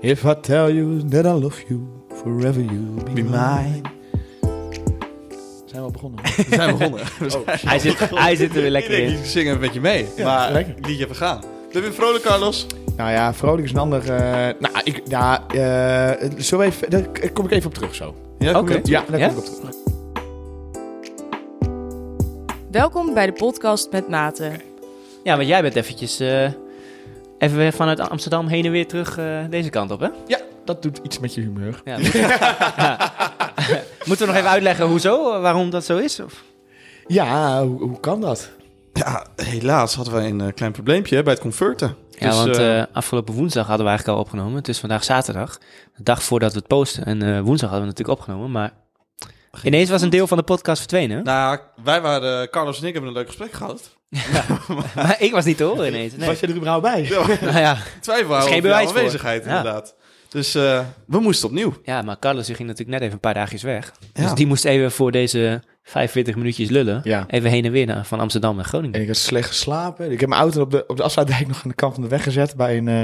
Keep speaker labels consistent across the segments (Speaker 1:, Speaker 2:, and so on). Speaker 1: If I tell you that I love you, forever you be, mine. Zijn we al begonnen?
Speaker 2: We zijn begonnen.
Speaker 3: Oh, Hij zit, hij zit er weer lekker in.
Speaker 2: Ik zing een beetje mee.
Speaker 1: Ja,
Speaker 2: maar
Speaker 1: lekker.
Speaker 2: het liedje even gaan. Ben je weer vrolijk, Carlos?
Speaker 1: nou ja, vrolijk is een ander... eh, nou, ik... Ja, eh, zullen we even... Daar kom ik even op terug zo.
Speaker 2: Ja,
Speaker 3: kom je op
Speaker 1: Ja, daar
Speaker 3: Ja?
Speaker 1: kom ik op terug.
Speaker 4: Welkom bij de podcast met Maten.
Speaker 3: Ja, want jij bent eventjes eh, even weer vanuit Amsterdam heen en weer terug eh, deze kant op, hè?
Speaker 1: Dat doet iets met je humeur.
Speaker 3: Ja, moet- Ja. Moeten we nog even uitleggen hoezo, waarom dat zo is? Of?
Speaker 1: Ja, hoe, hoe kan dat?
Speaker 2: Ja, helaas hadden wij een eh, klein probleempje hè, bij het converten.
Speaker 3: Ja,
Speaker 2: Dus,
Speaker 3: want
Speaker 2: eh,
Speaker 3: eh, afgelopen woensdag hadden we eigenlijk al opgenomen. Het is vandaag zaterdag, de dag voordat we het posten. En eh, woensdag hadden we het natuurlijk opgenomen, maar ineens was een deel van de podcast verdwenen.
Speaker 2: nou, wij waren, Carlos en ik hebben een leuk gesprek gehad.
Speaker 3: maar ik was niet te horen ineens. Nee.
Speaker 1: Was je er überhaupt bij?
Speaker 3: Nou ja.
Speaker 2: Twijfel waren
Speaker 3: Is
Speaker 2: over
Speaker 3: geen
Speaker 2: jouw
Speaker 3: bewijs voor.
Speaker 2: aanwezigheid,
Speaker 3: Ja.
Speaker 2: inderdaad. Dus eh, we moesten opnieuw.
Speaker 3: ja, maar Carlos die ging natuurlijk net even een paar dagjes weg.
Speaker 2: Ja.
Speaker 3: Dus die moest even voor deze 45 minuutjes lullen.
Speaker 1: Ja.
Speaker 3: Even heen en weer naar, van Amsterdam naar Groningen.
Speaker 1: En ik had slecht geslapen. Ik heb mijn auto op de, op de afsluitdijk nog aan de kant van de weg gezet bij een eh,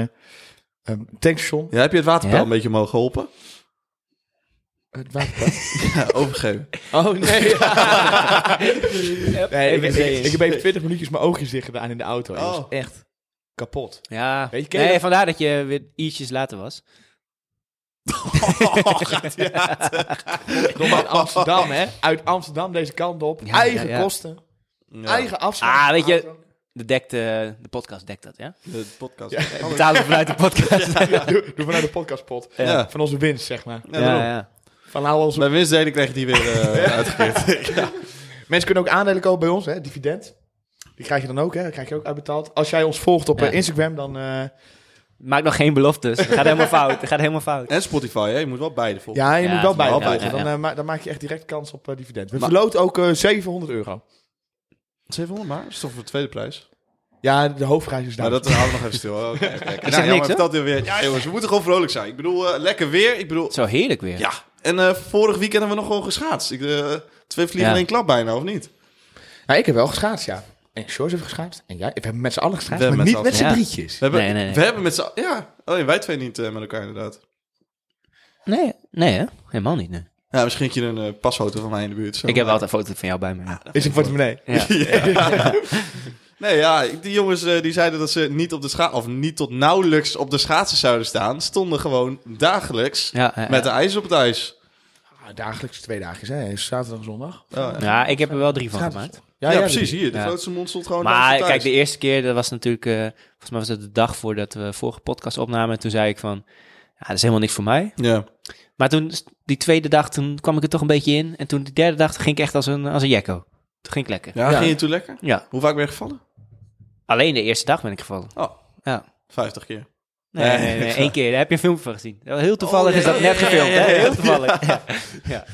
Speaker 1: ehm, tankstation.
Speaker 2: Ja, heb je het waterpeil
Speaker 3: Ja?
Speaker 2: een beetje omhoog geholpen?
Speaker 1: Het waterpas.
Speaker 2: Ja, overgeven.
Speaker 3: Oh nee.
Speaker 1: nee, ik,
Speaker 3: Even
Speaker 1: ik,
Speaker 3: zee
Speaker 1: ik,
Speaker 3: in.
Speaker 1: heb even 20 minuutjes mijn oogjes dicht gedaan in de auto. Ik was
Speaker 2: Oh.
Speaker 1: echt kapot.
Speaker 3: Ja,
Speaker 1: Weet je, ken je
Speaker 3: nee,
Speaker 1: dat-
Speaker 3: vandaar dat je weer ietsjes later was.
Speaker 2: Oh,
Speaker 1: Kom uit Amsterdam, hè? Uit Amsterdam deze kant op.
Speaker 3: Ja,
Speaker 1: eigen
Speaker 3: ja, ja.
Speaker 1: kosten.
Speaker 2: Ja,
Speaker 1: Eigen afstand.
Speaker 3: Ah, weet je, de, dekte, de podcast dekt dat, ja?
Speaker 2: De podcast.
Speaker 1: Ja.
Speaker 2: Oh,
Speaker 3: Betalen we vanuit de podcast.
Speaker 1: Doe, doe vanuit de podcastpot.
Speaker 2: Ja. Ja.
Speaker 1: Van onze winst, zeg maar.
Speaker 2: daarom.
Speaker 3: Ja, ja.
Speaker 1: Van nou onze...
Speaker 2: Bij winstdelen krijg je die weer eh, uitgekeerd.
Speaker 1: Mensen kunnen ook aandelen kopen bij ons, hè? Dividend. Die krijg je dan ook, hè? Dat krijg je ook uitbetaald. Als jij ons volgt op
Speaker 3: Ja.
Speaker 1: eh, Instagram, dan... eh,
Speaker 3: Maak nog geen beloftes. Het gaat helemaal fout. Het gaat helemaal fout.
Speaker 2: En Spotify, hè? je moet wel beide volgen.
Speaker 1: ja, je
Speaker 3: Ja,
Speaker 1: moet wel
Speaker 3: het is wel
Speaker 1: bij.
Speaker 2: bij,
Speaker 1: Dan,
Speaker 3: ja, ja.
Speaker 1: eh, ma- dan maak je echt direct kans op eh, dividend. We
Speaker 2: Maar-
Speaker 1: verloot ook eh, 700 euro.
Speaker 2: 700 maar? Dat is toch voor de tweede prijs?
Speaker 1: Ja, de hoofdprijs is daar.
Speaker 2: Nou, dat houden we nog even stil. Oké, oké, oké. Nou,
Speaker 3: niks,
Speaker 2: jongen,
Speaker 3: hè?
Speaker 2: vertelt hij weer. Ja, jongens, we moeten gewoon vrolijk zijn. Ik bedoel, eh, lekker weer. Ik bedoel,
Speaker 3: Zo heerlijk weer.
Speaker 2: ja. En eh, vorig weekend hebben we nog gewoon geschaatst. Ik, eh, twee vliegen
Speaker 3: Ja.
Speaker 2: in één klap bijna, of niet?
Speaker 1: Nou, ik heb wel geschaatst, ja. En George heeft geschaatst. En jij. We hebben met z'n allen geschaatst,
Speaker 2: We
Speaker 1: maar
Speaker 2: hebben met
Speaker 1: niet met
Speaker 3: z'n
Speaker 1: z'n
Speaker 3: allen-
Speaker 1: drietjes.
Speaker 2: We hebben,
Speaker 3: Nee, nee, nee.
Speaker 2: We hebben met z'n... Ja, alleen wij twee niet eh, met elkaar inderdaad.
Speaker 3: Nee, nee hè? Helemaal niet, nee.
Speaker 2: Ja, misschien heb je een eh, pasfoto van mij in de buurt. Zo.
Speaker 3: Ik heb altijd een foto van jou bij me.
Speaker 1: Is een portemonnee.
Speaker 3: Ja.
Speaker 2: Nee, ja, die jongens eh, die zeiden dat ze niet op de scha of niet tot nauwelijks op de schaatsen zouden staan, stonden gewoon dagelijks
Speaker 3: Ja, ja, ja.
Speaker 2: met de ijs op het ijs.
Speaker 1: Ah, dagelijks twee dagjes, hè? Zaterdag en zondag.
Speaker 2: Ja, ja.
Speaker 3: Ja, ik heb er wel drie van gemaakt.
Speaker 2: Ja, precies. Hier, de
Speaker 3: Ja.
Speaker 2: grootste mond stond gewoon langs
Speaker 3: Maar
Speaker 2: Oh, het ijs.
Speaker 3: kijk, de eerste keer, dat was natuurlijk, eh, volgens mij was dat de dag voordat we vorige podcast opnamen. Toen zei ik van, ja, dat is helemaal niks voor mij.
Speaker 2: Ja.
Speaker 3: Maar toen, die tweede dag, toen kwam ik er toch een beetje in. En toen die derde dag, toen ging ik echt als een, als een jekko. Toen ging ik lekker.
Speaker 2: Ja,
Speaker 1: Ja.
Speaker 2: ging je toen lekker?
Speaker 3: Ja.
Speaker 2: Hoe vaak ben je gevallen?
Speaker 3: Alleen de eerste dag ben ik gevallen.
Speaker 2: Oh.
Speaker 3: Ja.
Speaker 2: 50 keer.
Speaker 3: Nee,
Speaker 2: Nee,
Speaker 3: nee, nee,
Speaker 2: ik-
Speaker 3: één keer. Daar heb je een filmpje van gezien. Heel toevallig
Speaker 2: Oh, ja,
Speaker 3: is dat
Speaker 2: ja,
Speaker 3: net
Speaker 2: ja,
Speaker 3: gefilmd.
Speaker 2: ja, ja,
Speaker 3: hè?
Speaker 2: ja.
Speaker 3: Heel toevallig. Ja.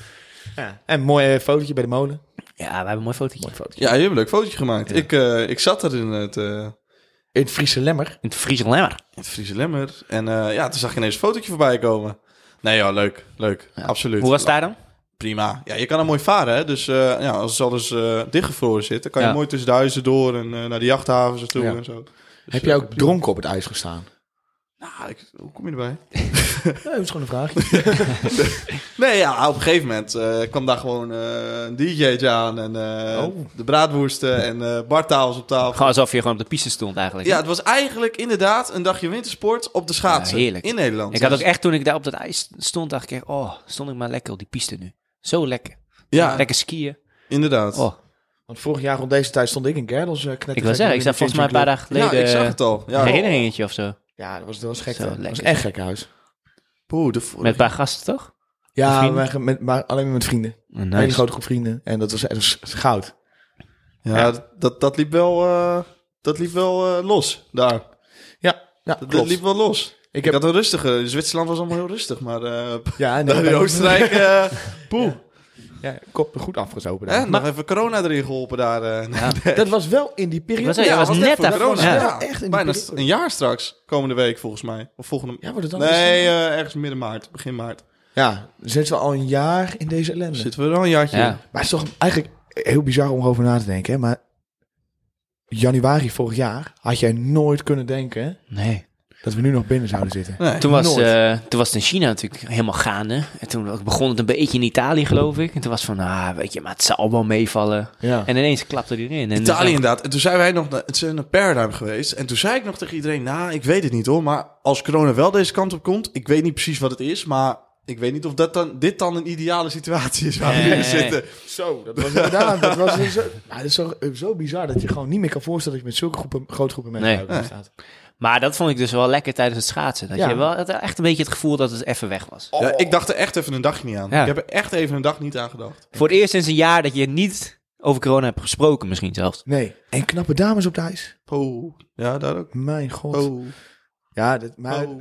Speaker 1: Ja. En een mooi eh, fotootje bij de molen.
Speaker 3: we hebben een mooi fotootje.
Speaker 1: fotootje.
Speaker 2: Ja, je hebt een leuk fotootje gemaakt. Ik, eh, ik zat er in het, eh,
Speaker 1: In het Friese Lemmer.
Speaker 3: In het Friese Lemmer.
Speaker 2: in het Friese Lemmer. En eh, ja, toen zag ik ineens een fotootje voorbij komen. Nee joh, leuk. Leuk. Absoluut.
Speaker 3: Hoe was het daar dan?
Speaker 2: Prima. Ja, je kan er mooi varen. Hè? Dus eh, ja, als het alles eh dichtgevroren zit, dan kan je
Speaker 3: Ja.
Speaker 2: mooi tussen de huizen door en eh, naar de jachthavens en toe
Speaker 1: Ja.
Speaker 2: en zo. Dus,
Speaker 1: Heb jij
Speaker 2: eh,
Speaker 1: ook dronken op het ijs gestaan?
Speaker 2: Nou, ik- hoe kom je erbij?
Speaker 1: Nee, dat is gewoon een vraagje.
Speaker 2: Nee, ja, op een gegeven moment eh, kwam daar gewoon eh, een DJ'tje aan en eh,
Speaker 1: Oh.
Speaker 2: de braadwoesten en eh bartafels op tafel.
Speaker 3: Gewoon alsof je gewoon op de piste stond eigenlijk.
Speaker 2: Ja, het was eigenlijk inderdaad een dagje wintersport op de schaatsen.
Speaker 3: Ja, heerlijk.
Speaker 2: In Nederland.
Speaker 3: Ik had ook
Speaker 2: Dus-
Speaker 3: echt, toen ik daar op dat ijs stond, dacht ik echt, oh, stond ik maar lekker op die piste nu. Zo lekker.
Speaker 2: Ja,
Speaker 3: Lekker skiën.
Speaker 2: inderdaad.
Speaker 3: Oh,
Speaker 1: Want vorig jaar rond deze tijd stond ik in Kerels. eh knetter.
Speaker 3: ik wil zeggen, ik zat volgens mij een paar dagen
Speaker 2: ja,
Speaker 3: geleden eh,
Speaker 2: ik zag het al.
Speaker 3: een
Speaker 2: Ja,
Speaker 3: herinneringetje of zo.
Speaker 1: Ja, dat was, dat was gek.
Speaker 3: Zo,
Speaker 1: hè. dat was
Speaker 3: lekker.
Speaker 1: echt gek huis.
Speaker 2: Poeh, de vorige-
Speaker 3: Met een paar gasten, toch? Met
Speaker 1: Ja,
Speaker 3: vrienden?
Speaker 1: maar, met, maar alleen met vrienden. Een hele
Speaker 3: Oh, Nice.
Speaker 1: grote groep vrienden. En dat was, dat was goud.
Speaker 2: ja, Dat, dat liep wel, eh, dat liep wel eh, los daar.
Speaker 1: Ja,
Speaker 2: Dat, dat
Speaker 1: klopt.
Speaker 2: liep wel los.
Speaker 1: Ik
Speaker 2: Ik,
Speaker 1: heb-
Speaker 2: had een rustige. in Zwitserland was allemaal heel rustig, maar eh
Speaker 1: Ja, nee,
Speaker 2: in
Speaker 1: wij-
Speaker 2: Oostenrijk, eh poeh.
Speaker 1: Ja, kop goed afgezopen.
Speaker 2: Hè,
Speaker 1: daar.
Speaker 2: nog even corona erin geholpen daar. eh.
Speaker 1: dat was wel in die
Speaker 3: Ik
Speaker 1: periode.
Speaker 3: wil zeggen,
Speaker 2: Ja,
Speaker 3: dat was
Speaker 2: was net
Speaker 3: net
Speaker 2: voor
Speaker 3: daarvoor.
Speaker 2: corona.
Speaker 1: Ja,
Speaker 3: Ja.
Speaker 1: echt in die
Speaker 2: Bijna
Speaker 1: periode.
Speaker 2: een jaar straks, komende week volgens mij. Of volgende
Speaker 1: Ja, wordt het dan
Speaker 2: Nee, eh, ergens midden maart, begin maart.
Speaker 1: Ja, dan zitten we al een jaar in deze ellende.
Speaker 2: Zitten we er al een jaartje
Speaker 3: Ja.
Speaker 2: in.
Speaker 1: Maar het is toch eigenlijk heel bizar om over na te denken. Hè? Maar januari vorig jaar had jij nooit kunnen denken
Speaker 3: Nee.
Speaker 1: Dat we nu nog binnen zouden zitten.
Speaker 2: Nee.
Speaker 3: Toen was,
Speaker 1: Nooit.
Speaker 3: eh, toen was het in China natuurlijk helemaal gaande. En toen begon het een beetje in Italië, geloof ik. En toen was het van, ah, weet je, maar het zal wel meevallen.
Speaker 1: Ja.
Speaker 3: En ineens klapte hij erin. En
Speaker 2: Italië
Speaker 3: dus-
Speaker 2: inderdaad. En toen zijn wij nog naar, het zijn naar Paradigm geweest. En toen zei ik nog tegen iedereen, nou, ik weet het niet hoor. Maar als corona wel deze kant op komt, ik weet niet precies wat het is. Maar ik weet niet of dat dan, dit dan een ideale situatie is waar we
Speaker 3: Nee.
Speaker 2: nu zitten.
Speaker 1: Zo, dat was inderdaad. Dat was dus zo, maar het is zo, zo bizar dat je gewoon niet meer kan voorstellen dat je met zulke groepen, grote groepen mensen
Speaker 3: Nee.
Speaker 1: uit elkaar staat.
Speaker 3: Maar dat vond ik dus wel lekker tijdens het schaatsen. Dat
Speaker 1: Ja.
Speaker 3: je wel had echt een beetje het gevoel dat het even weg was.
Speaker 2: Ja, ik dacht er echt even een dagje niet aan.
Speaker 3: Ja.
Speaker 2: Ik heb er echt even een dag niet aan gedacht.
Speaker 3: Voor het eerst sinds een jaar dat je niet over corona hebt gesproken misschien zelfs.
Speaker 1: Nee. En knappe dames op de ijs.
Speaker 2: Oh. Ja, daar ook.
Speaker 1: Mijn god.
Speaker 2: Oh.
Speaker 1: Ja, dat, maar...
Speaker 2: Oh.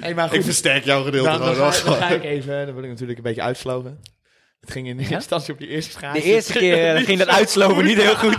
Speaker 1: Hey, maar
Speaker 2: Ik
Speaker 1: goed,
Speaker 2: versterk jouw gedeelte
Speaker 1: dan, dan,
Speaker 2: gewoon.
Speaker 1: ga,
Speaker 2: hoor.
Speaker 1: dan ga ik even... eh, Dan wil ik natuurlijk een beetje uitsloven. Het ging in eerste
Speaker 3: Ja?
Speaker 1: instantie op die eerste schaats.
Speaker 3: De eerste keer eh, ging dat uitslopen niet heel goed.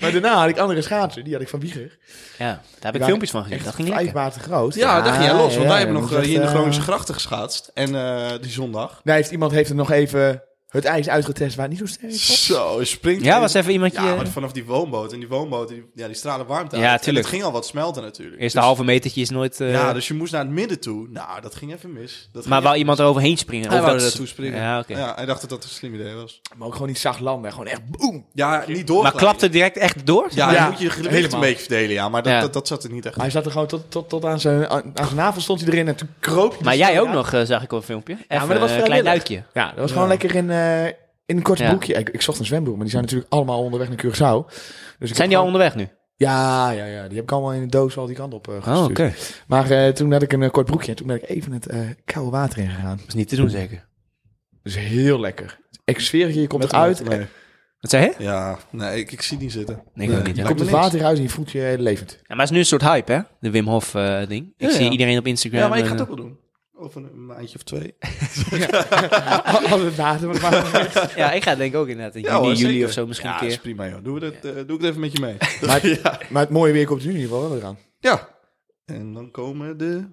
Speaker 1: Maar daarna had ik andere schaatsen. Die had ik van Wieger.
Speaker 3: Ja, daar heb ik
Speaker 1: waren
Speaker 3: filmpjes van gezien.
Speaker 1: Echt
Speaker 3: Dat ging
Speaker 1: vijf
Speaker 3: lekker.
Speaker 1: maten groot.
Speaker 2: Ja, daar ging jij los. Want
Speaker 1: ja,
Speaker 2: wij hebben
Speaker 1: dat
Speaker 2: nog
Speaker 1: is
Speaker 2: eh, hier in de
Speaker 1: echt, eh,
Speaker 2: Groningse grachten geschaatst. En eh, die zondag.
Speaker 1: Daar heeft, iemand heeft er nog even eh, het ijs uitgetest waar het niet zo sterk is.
Speaker 2: Zo, springt.
Speaker 3: Ja, was even iemand
Speaker 2: Ja, maar
Speaker 3: je...
Speaker 2: vanaf die woonboot. En die woonboot, die, ja, die stralen warmte
Speaker 3: Ja,
Speaker 2: uit. En
Speaker 3: tuurlijk.
Speaker 2: het ging al wat smelten natuurlijk.
Speaker 3: Eerst een
Speaker 2: Dus-
Speaker 3: halve metertje is nooit... eh,
Speaker 2: Ja, dus je moest naar het midden toe. Nou, dat ging even mis. Dat
Speaker 3: Maar
Speaker 2: ging
Speaker 3: wou
Speaker 2: echt-
Speaker 3: iemand er overheen springen?
Speaker 2: Hij
Speaker 3: Of
Speaker 2: wou er
Speaker 3: dat-
Speaker 2: naartoe springen.
Speaker 3: Ja, oké.
Speaker 2: Ja, hij dacht dat dat een slim idee was.
Speaker 1: Maar ook gewoon niet zacht landen. Gewoon echt boem.
Speaker 2: Ja, niet door.
Speaker 3: Maar klapte het direct echt door?
Speaker 2: Ja,
Speaker 1: Ja,
Speaker 2: dan moet je je gewicht een
Speaker 1: helemaal.
Speaker 2: beetje verdelen, ja. Maar dat,
Speaker 3: Ja.
Speaker 2: dat, dat zat er niet echt in.
Speaker 1: Hij zat er gewoon tot, tot, tot aan, zijn, aan zijn navel stond hij erin en toen kroop hij. de
Speaker 3: Maar jij
Speaker 1: straat
Speaker 3: ook
Speaker 1: uit.
Speaker 3: nog, eh, zag ik op een filmpje. Even
Speaker 1: maar dat was
Speaker 3: een klein
Speaker 1: vrijwillig.
Speaker 3: duikje.
Speaker 1: Ja, dat was
Speaker 2: Ja.
Speaker 1: gewoon lekker in, eh, in een kort
Speaker 3: Ja.
Speaker 1: broekje. Ik, ik zocht een zwembroek, maar die zijn natuurlijk allemaal onderweg naar Curaçao. Dus ik
Speaker 3: Zijn
Speaker 1: heb
Speaker 3: die al
Speaker 1: gewoon-
Speaker 3: onderweg nu?
Speaker 1: Ja, ja, ja. Die heb ik allemaal in de doos al die kant op eh,
Speaker 3: Oh,
Speaker 1: gestuurd.
Speaker 3: oké.
Speaker 1: Maar eh, toen had ik een eh, kort broekje en toen ben ik even het eh, koude water ingegaan.
Speaker 3: Dat is niet te doen zeker.
Speaker 1: Dus heel lekker. Ik zweer het je, je komt
Speaker 2: Met
Speaker 1: eruit.
Speaker 2: een- nee.
Speaker 3: Wat zei je?
Speaker 2: Ja, nee, ik, ik zie het niet zitten.
Speaker 3: Nee, ik
Speaker 2: Nee.
Speaker 3: ook niet.
Speaker 1: Je
Speaker 3: Ja.
Speaker 1: komt
Speaker 2: me
Speaker 1: het
Speaker 2: niks.
Speaker 1: water uit en je voelt je eh, levend.
Speaker 3: Ja, maar het is nu een soort hype, hè? De Wim Hof eh, ding. Ik
Speaker 2: Ja,
Speaker 3: zie
Speaker 2: ja.
Speaker 3: iedereen op Instagram.
Speaker 2: Ja, maar ik ga
Speaker 3: eh,
Speaker 2: het ook wel doen. Over een maandje of twee.
Speaker 1: Als het water wat water.
Speaker 3: Ja, ik ga het denk ik ook inderdaad. In
Speaker 2: Ja,
Speaker 3: juni,
Speaker 2: hoor,
Speaker 3: juli
Speaker 2: zeker.
Speaker 3: of zo misschien
Speaker 2: Ja,
Speaker 3: een
Speaker 2: dat is
Speaker 3: keer.
Speaker 2: prima, joh. Doe, we dat, eh, doe ik het even met je mee.
Speaker 1: Maar-
Speaker 2: ja.
Speaker 1: Maar het mooie weer komt nu in ieder geval wel eraan.
Speaker 2: ja. En dan komen de...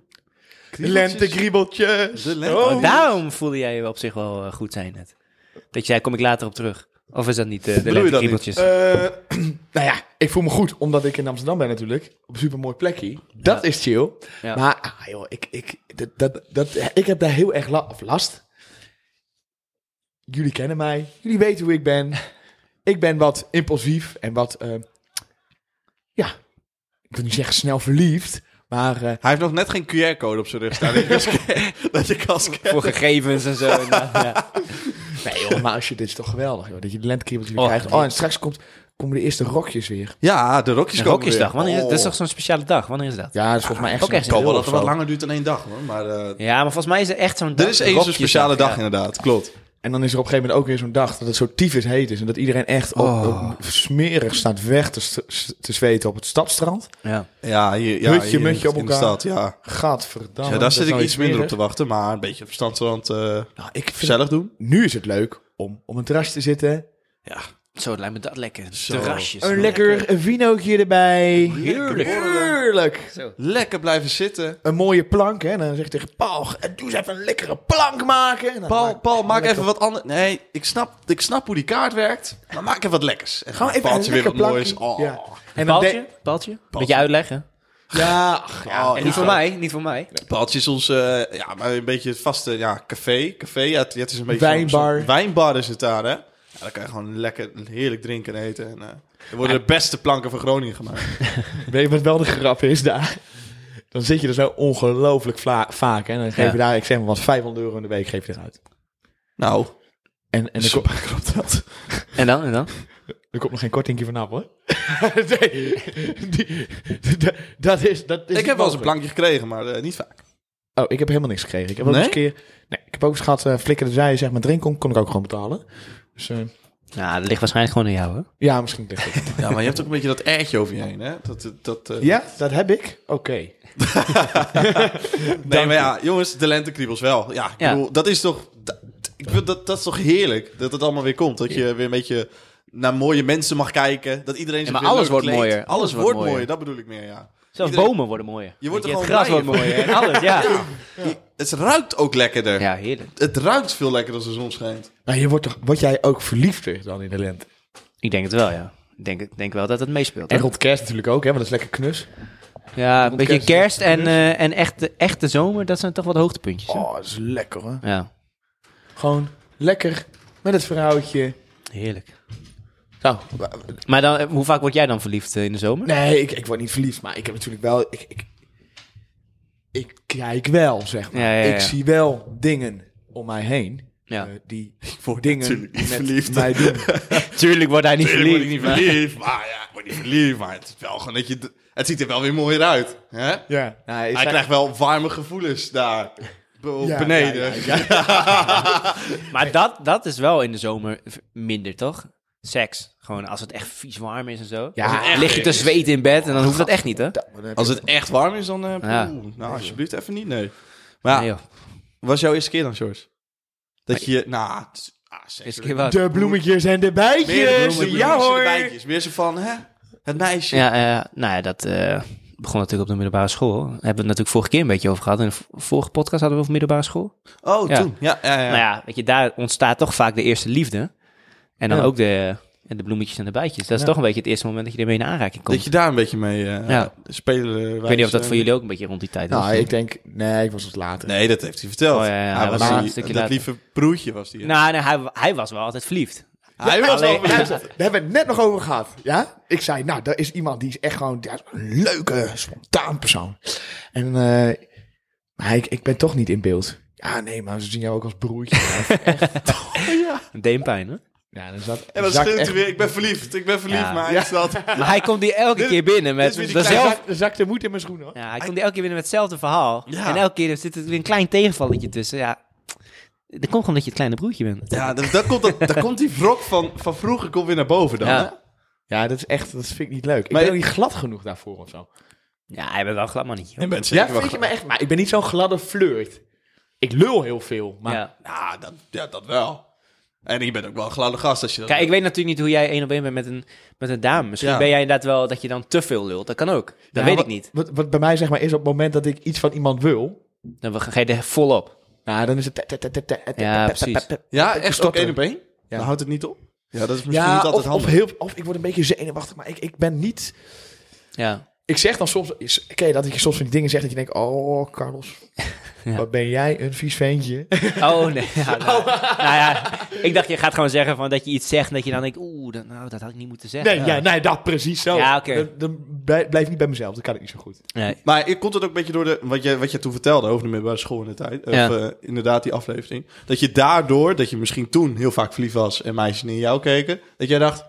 Speaker 1: Lentegriebeltjes.
Speaker 2: De lente-
Speaker 1: Oh.
Speaker 2: Oh,
Speaker 3: Daarom voelde jij je op zich wel eh, goed zijn net. Dat je zei, kom ik later op terug. Of is dat niet eh, de
Speaker 2: Bedoel je dat niet?
Speaker 3: lentekriebeltjes?
Speaker 1: Eh, nou ja, ik voel me goed, omdat ik in Amsterdam ben natuurlijk. Op een supermooi plekje. Dat
Speaker 3: Ja.
Speaker 1: is chill.
Speaker 3: Ja.
Speaker 1: Maar ah, joh, ik, ik, dat, dat, dat, ik heb daar heel erg la of last. Jullie kennen mij. Jullie weten hoe ik ben. Ik ben wat impulsief en wat... eh, ja, ik wil niet zeggen snel verliefd. Maar eh,
Speaker 2: Hij heeft nog net geen QR-code op zijn rug staan. dat je kan scannen- dat je kan scannen.
Speaker 3: Voor gegevens en zo. nou, ja.
Speaker 1: nee joh, maar als je, dit is toch geweldig joh. Dat je de lentekriebeltjes weer
Speaker 3: Och,
Speaker 1: krijgt.
Speaker 3: nee.
Speaker 1: Oh, en straks komt, komen de eerste rokjes weer.
Speaker 2: Ja, de rokjes komen
Speaker 3: Rokjesdag,
Speaker 2: weer.
Speaker 3: wanneer is, dat is
Speaker 2: Oh.
Speaker 3: toch zo'n speciale dag? Wanneer is dat?
Speaker 1: Ja, dat is volgens mij echt
Speaker 3: Ook
Speaker 1: zo'n
Speaker 3: echt
Speaker 2: Ik hoop wel
Speaker 1: april
Speaker 2: dat het
Speaker 1: of
Speaker 2: wat
Speaker 1: zo.
Speaker 2: langer duurt dan één dag, hoor. Maar eh,
Speaker 3: Ja, maar volgens mij is er echt zo'n
Speaker 2: er is één zo'n speciale dag,
Speaker 3: ja.
Speaker 2: inderdaad. Klopt.
Speaker 1: En dan is er op een gegeven moment ook weer zo'n dag dat het zo tyfus heet is. En dat iedereen echt op,
Speaker 3: Oh.
Speaker 1: op- smerig staat weg te, st- te zweten op het stadstrand.
Speaker 3: Ja.
Speaker 2: Ja, hier, ja,
Speaker 1: Hutje,
Speaker 2: hier in-
Speaker 1: mutje op
Speaker 2: in de
Speaker 1: elkaar.
Speaker 2: stad, ja.
Speaker 1: Gadverdamme.
Speaker 2: ja,
Speaker 1: dat
Speaker 2: daar
Speaker 1: is
Speaker 2: zit ik
Speaker 1: nou
Speaker 2: iets minder op te
Speaker 1: smerig.
Speaker 2: wachten. Maar een beetje op verstandsrand eh
Speaker 1: Nou, ik vind-
Speaker 2: gezellig doen.
Speaker 1: nu is het leuk om op een terrasje te zitten.
Speaker 3: Zo, het lijkt me dat lekker.
Speaker 2: Zo.
Speaker 3: Terrasjes.
Speaker 1: Een lekker vinootje erbij.
Speaker 2: Heerlijk.
Speaker 1: Heerlijk.
Speaker 3: Zo.
Speaker 2: Lekker blijven zitten.
Speaker 1: Een mooie plank, hè. En dan zeg ik tegen Paul, doe eens even een lekkere plank maken. En dan
Speaker 2: Paul,
Speaker 1: maak-
Speaker 2: Paul maak
Speaker 1: lekker-
Speaker 2: even wat anders. Nee, ik snap, ik snap hoe die kaart werkt. Maar maak even wat lekkers. En
Speaker 1: Gewoon even
Speaker 2: Paaltje
Speaker 1: een
Speaker 2: weer wat
Speaker 1: lekker
Speaker 2: moois.
Speaker 1: plankje.
Speaker 2: Oh.
Speaker 1: Ja. En dan
Speaker 3: Paaltje?
Speaker 1: de-
Speaker 3: Paaltje?
Speaker 2: Paaltje.
Speaker 3: Beetje uitleggen.
Speaker 1: Ja, ach, ja.
Speaker 2: Oh,
Speaker 3: En
Speaker 2: ja.
Speaker 3: niet voor mij, niet voor mij.
Speaker 2: Paaltje is ons, eh, ja, maar een beetje het vaste ja, café. Café, ja, het, het is een beetje
Speaker 1: Wijnbar.
Speaker 2: zo'n- wijnbar is het daar, hè? Ja, dan kan je gewoon lekker heerlijk drinken en eten. En, eh, er worden de beste planken van Groningen gemaakt.
Speaker 1: Weet je wat wel de grap is daar? Dan zit je er zo ongelooflijk vla- vaak. hè, En dan geef je
Speaker 3: Ja.
Speaker 1: daar, ik zeg maar wat, 500 euro in de week geef je eruit.
Speaker 2: Nou,
Speaker 1: En, en er,
Speaker 2: Zo
Speaker 1: komt, klopt dat.
Speaker 3: En dan, en dan?
Speaker 1: er komt nog geen kortingje vanaf hoor. nee, die- dat- dat is, dat is
Speaker 2: ik heb wel
Speaker 1: niet
Speaker 2: eens een
Speaker 1: mogelijk.
Speaker 2: plankje gekregen, maar eh, niet vaak.
Speaker 1: Oh, ik heb helemaal niks gekregen. Ik heb ook
Speaker 2: Nee?
Speaker 1: eens een keer... Nee, ik heb ook eens gehad, eh flikker de zij, zeg maar, drink kon, kon ik ook gewoon betalen. Dus eh,
Speaker 3: Nou, dat ligt waarschijnlijk gewoon aan jou, hoor.
Speaker 1: ja, misschien ligt het.
Speaker 2: Ja, maar je hebt ook een beetje dat ertje over je heen, hè? Dat, dat, dat, eh,
Speaker 1: ja, dat heb ik. Oké.
Speaker 2: Nee, maar ja, jongens, de lentekriebels wel. Ja, ik
Speaker 3: Ja.
Speaker 2: bedoel, dat is toch... Dat, ik bedoel, dat, dat is toch heerlijk, dat het allemaal weer komt. Dat je weer een beetje naar mooie mensen mag kijken. Dat iedereen zich
Speaker 3: maar
Speaker 2: weer
Speaker 3: alles
Speaker 2: leuk
Speaker 3: wordt
Speaker 2: kleedt.
Speaker 3: mooier.
Speaker 2: Alles,
Speaker 3: Alles wordt
Speaker 2: wordt mooier.
Speaker 3: mooier.
Speaker 2: dat bedoel ik meer, ja.
Speaker 3: Zelfs
Speaker 2: Iedereen-
Speaker 3: bomen worden mooier.
Speaker 2: Je wordt
Speaker 3: Weet
Speaker 2: er
Speaker 3: het
Speaker 2: gewoon
Speaker 3: gras wordt
Speaker 2: blij van.
Speaker 3: mooier en alles, ja.
Speaker 2: Je- Het ruikt ook lekkerder.
Speaker 3: Ja, heerlijk.
Speaker 2: Het ruikt veel lekkerder als de zon schijnt.
Speaker 1: Maar Nou, je wordt toch, word jij ook verliefder dan in de lente?
Speaker 3: Ik denk het wel, ja. Ik denk, denk wel dat het meespeelt.
Speaker 1: En
Speaker 3: hè?
Speaker 1: rond kerst natuurlijk ook, hè, want dat is lekker knus.
Speaker 3: Ja, een
Speaker 1: Rond
Speaker 3: beetje
Speaker 1: kerst,
Speaker 3: kerst en,
Speaker 1: dus.
Speaker 3: eh, en echte, echte zomer, dat zijn toch wat hoogtepuntjes. hè?
Speaker 1: Oh, dat is lekker hoor.
Speaker 3: Ja,
Speaker 1: Gewoon lekker met het vrouwtje.
Speaker 3: heerlijk.
Speaker 1: Nou,
Speaker 3: Maar dan, eh, hoe vaak word jij dan verliefd eh, in de zomer?
Speaker 1: nee, ik, ik word niet verliefd, maar ik heb natuurlijk wel... Ik, ik, ik kijk wel, zeg maar.
Speaker 3: Ja, ja, ja.
Speaker 1: Ik zie wel dingen om mij heen
Speaker 3: Ja.
Speaker 1: eh, die
Speaker 2: word
Speaker 1: dingen
Speaker 2: natuurlijk
Speaker 1: met
Speaker 2: niet verliefd.
Speaker 1: mij doen.
Speaker 3: Tuurlijk wordt hij niet
Speaker 2: Tuurlijk word ik niet verliefd, maar ja, ik word niet verliefd. Maar het is wel gewoon dat je... d- Het ziet er wel weer mooier uit. Hè?
Speaker 1: ja. Nou,
Speaker 2: Hij
Speaker 1: is dat-
Speaker 2: krijgt wel warme gevoelens daar. b-
Speaker 1: Ja,
Speaker 2: beneden.
Speaker 1: ja, ja,
Speaker 3: Maar dat, dat is wel in de zomer v- minder, toch? Seks. Gewoon als het echt vies warm is en zo.
Speaker 1: Ja,
Speaker 3: Ja, lig je te zweten in bed en dan hoeft dat echt niet, hè?
Speaker 1: dat- dan heb
Speaker 2: Als
Speaker 1: je-
Speaker 2: het echt warm is, dan... eh, poeh,
Speaker 3: Ja.
Speaker 2: Nou, alsjeblieft even niet, nee. Maar
Speaker 3: Nee, joh.
Speaker 2: was jouw eerste keer dan, George? Dat je... Nou, het is- ah,
Speaker 3: Is
Speaker 2: seks-
Speaker 3: keer wat.
Speaker 1: De bloemetjes en de
Speaker 2: Meer de
Speaker 1: bijtjes.
Speaker 2: bloemen,
Speaker 1: ja
Speaker 2: bloemen, de
Speaker 1: hoor.
Speaker 2: bijtjes. Meer zo van, hè? Het meisje.
Speaker 3: Ja, eh, nou ja, dat eh, begon natuurlijk op de middelbare school. Daar hebben we het natuurlijk vorige keer een beetje over gehad. In de v- vorige podcast hadden we over middelbare school.
Speaker 2: Oh,
Speaker 3: Ja.
Speaker 2: toen. Ja, ja, ja.
Speaker 3: Nou ja, weet je, daar ontstaat toch vaak de eerste liefde. En dan
Speaker 1: Ja.
Speaker 3: ook de, en de bloemetjes en de bijtjes. Dat is
Speaker 1: Ja.
Speaker 3: toch een beetje het eerste moment dat je ermee in aanraking komt.
Speaker 2: Dat je daar een beetje mee eh,
Speaker 3: Ja.
Speaker 2: spelen. eh,
Speaker 3: ik weet niet of dat
Speaker 2: wijs,
Speaker 3: voor
Speaker 2: eh,
Speaker 3: jullie ook een beetje rond die tijd was.
Speaker 1: Nou, ik denk... Nee, ik was wat later.
Speaker 2: Nee, dat heeft hij verteld.
Speaker 3: Oh, ja, ja, hij
Speaker 2: hij was
Speaker 3: was
Speaker 2: die-
Speaker 3: een stukje
Speaker 2: dat
Speaker 3: later.
Speaker 2: lieve broertje was die. hè?
Speaker 3: Nou, nee, hij, hij was wel altijd verliefd.
Speaker 2: hij was
Speaker 3: alleen-
Speaker 2: al verliefd.
Speaker 1: Daar hebben we het net nog over gehad. Ja? Ik zei, nou, dat is iemand die is echt gewoon ja, een leuke, spontaan persoon. En eh, maar ik, ik ben toch niet in beeld. Ja, nee, maar ze zien jou ook als broertje.
Speaker 3: Deenpijn, hè?
Speaker 1: ja, dan zat,
Speaker 2: En dan
Speaker 1: zak
Speaker 2: schreeuwt
Speaker 1: echt-
Speaker 2: hij weer, ik ben verliefd, ik ben verliefd,
Speaker 3: Ja.
Speaker 2: maar
Speaker 1: Ja.
Speaker 2: hij staat...
Speaker 3: Maar hij komt die elke
Speaker 2: Dit-
Speaker 3: keer binnen
Speaker 2: dit
Speaker 3: met
Speaker 2: is weer die
Speaker 1: Dan
Speaker 3: dezelfde...
Speaker 1: zak- dan zakt de moed in mijn schoenen. hoor.
Speaker 3: Ja, hij komt die elke keer binnen met hetzelfde verhaal.
Speaker 2: Ja.
Speaker 3: En elke keer zit er weer een klein tegenvalletje tussen. Ja, dat komt gewoon omdat je het kleine broertje bent.
Speaker 2: Ja, dan, dan, komt dat, dan komt die wrok van, van vroeger komt weer naar boven dan.
Speaker 3: Ja.
Speaker 2: hè?
Speaker 1: Ja, dat is echt, dat vind ik niet leuk. Ik
Speaker 2: Maar
Speaker 1: ben
Speaker 2: je-
Speaker 1: ook niet glad genoeg daarvoor of zo.
Speaker 3: Ja, hij bent wel een glad mannetje. hoor.
Speaker 2: Je bent
Speaker 1: Ja,
Speaker 2: zeker wel...
Speaker 1: vind je me echt, maar ik ben niet zo'n gladde flirt. Ik lul heel veel, maar
Speaker 3: Ja.
Speaker 2: Ja, Nou, dat, ja, dat wel. En je bent ook wel een gladde gast als je dat...
Speaker 3: Kijk, ik weet natuurlijk niet hoe jij één op één bent met een, met een dame. Misschien
Speaker 2: Ja.
Speaker 3: ben jij inderdaad wel dat je dan te veel lult. Dat kan ook. Dat weet ik niet.
Speaker 1: Wat, wat bij mij zeg maar is op het moment dat ik iets van iemand wil,
Speaker 3: Dan ga je er vol op.
Speaker 1: nou, dan is het... te- te- te- te- te- te-
Speaker 3: Ja,
Speaker 1: te- te-
Speaker 3: precies.
Speaker 1: te- te-
Speaker 2: Ja, echt ook
Speaker 1: Stotteren.
Speaker 2: één op één?
Speaker 1: Ja.
Speaker 2: Dan houdt het niet op. Ja, dat is misschien
Speaker 1: Ja,
Speaker 2: niet altijd
Speaker 1: of, of,
Speaker 2: handig.
Speaker 1: heel, of ik word een beetje zenuwachtig, maar ik, ik ben niet...
Speaker 3: Ja.
Speaker 1: Ik zeg dan soms... is- Ken je dat, dat je soms van die dingen zegt dat je denkt... Oh, Carlos,
Speaker 3: Ja.
Speaker 1: wat ben jij een vies ventje.
Speaker 3: Oh, nee. Ja, nou, nou ja, ik dacht, je gaat gewoon zeggen van dat je iets zegt en dat je dan denkt, oeh, dat, nou, dat had ik niet moeten zeggen.
Speaker 1: Nee, ja. nee, dat precies zo.
Speaker 3: Ja, oké.
Speaker 1: Dan, dan blij- blijf ik niet bij mezelf, dat kan ik niet zo goed.
Speaker 3: Nee.
Speaker 2: Maar ik- komt het ook een beetje door de, wat, je, wat je toen vertelde over de middelbare school in de tijd. Of
Speaker 3: Ja.
Speaker 2: eh, inderdaad die aflevering. Dat je daardoor, dat je misschien toen heel vaak verliefd was en meisjes niet in jou keken. Dat jij dacht,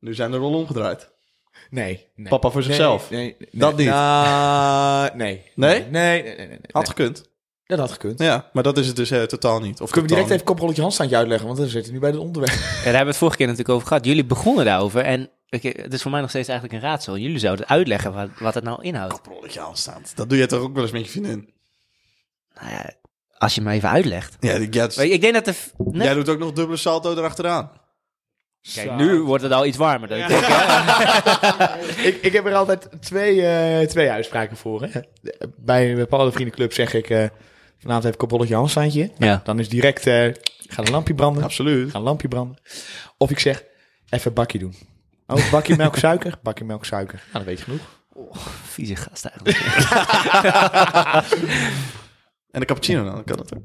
Speaker 2: nu zijn de rollen omgedraaid.
Speaker 1: Nee. nee.
Speaker 2: Papa voor zichzelf.
Speaker 1: Nee, nee, nee.
Speaker 2: Dat niet.
Speaker 1: Nou, nee.
Speaker 2: Nee?
Speaker 1: Nee, nee, nee. nee, nee.
Speaker 2: Had gekund.
Speaker 1: Dat had gekund.
Speaker 2: Ja, maar dat is het dus eh, totaal niet. Of
Speaker 1: Kunnen we direct
Speaker 2: totaal
Speaker 1: even koprolletje handstandje uitleggen, want we zitten nu bij het onderwerp.
Speaker 3: Ja, daar hebben we het vorige keer natuurlijk over gehad. Jullie begonnen daarover en ik, het is voor mij nog steeds eigenlijk een raadsel. Jullie zouden uitleggen wat, wat het nou inhoudt.
Speaker 2: niet. Koprolletje aanstaand. Dat doe je toch ook wel eens met je vriendin?
Speaker 3: Nou ja, als je me even uitlegt.
Speaker 2: Ja, die- ja, het is-
Speaker 3: Maar ik denk dat de... f- Nee.
Speaker 2: Jij doet ook nog dubbele salto erachteraan.
Speaker 3: Kijk,
Speaker 1: Zo.
Speaker 3: nu wordt het al iets warmer. Dan ik denk,
Speaker 1: ik, ik heb er altijd twee, eh, twee uitspraken voor. Hè. Bij een bepaalde vriendenclub zeg ik... eh, vanavond heb ik een bolletje handstandje.
Speaker 3: ja.
Speaker 1: Dan is direct... eh ga een lampje branden.
Speaker 2: Absoluut.
Speaker 1: Ga een lampje branden. Of ik zeg... Even een bakje doen. Oh, bakje melk suiker? Bakje melk suiker. Nou, dan weet je genoeg.
Speaker 3: Vieze gast eigenlijk.
Speaker 2: En de cappuccino dan, kan dat ook.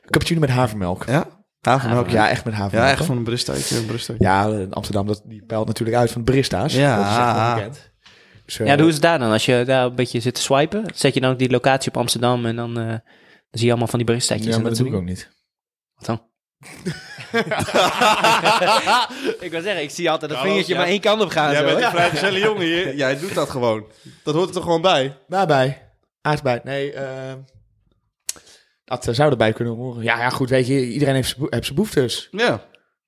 Speaker 1: Cappuccino met havermelk.
Speaker 2: Ja? Havermelk, ja.
Speaker 1: Ja, echt met havermelk.
Speaker 2: Ja, echt
Speaker 1: hoor.
Speaker 2: van een bristaatje, een bristaatje.
Speaker 1: Ja, in Amsterdam, dat, die peilt natuurlijk uit van de barista's.
Speaker 2: Ja.
Speaker 1: Dat is echt wel bekend. Dus, eh,
Speaker 3: Ja, hoe is het daar dan? Als je daar een beetje zit te swipen, zet je dan ook die locatie op Amsterdam en dan, eh, dan zie je allemaal van die baristaatjes.
Speaker 1: ja,
Speaker 3: en
Speaker 1: maar dat
Speaker 3: soort
Speaker 1: doe ik ook niet.
Speaker 3: dingen. Ik wil zeggen, ik zie altijd een
Speaker 2: Carlos,
Speaker 3: vingertje
Speaker 2: ja.
Speaker 3: maar één kant op gaan.
Speaker 2: Jij
Speaker 3: zo,
Speaker 2: bent
Speaker 3: hè?
Speaker 2: een vrijgezelle jongen hier. Jij doet dat gewoon. Dat hoort er toch gewoon bij?
Speaker 1: Daarbij. Aardbei. Nee, ehm, dat eh, zou erbij kunnen horen. Ja, ja, goed, weet je, iedereen heeft zijn behoeftes.
Speaker 2: Ja.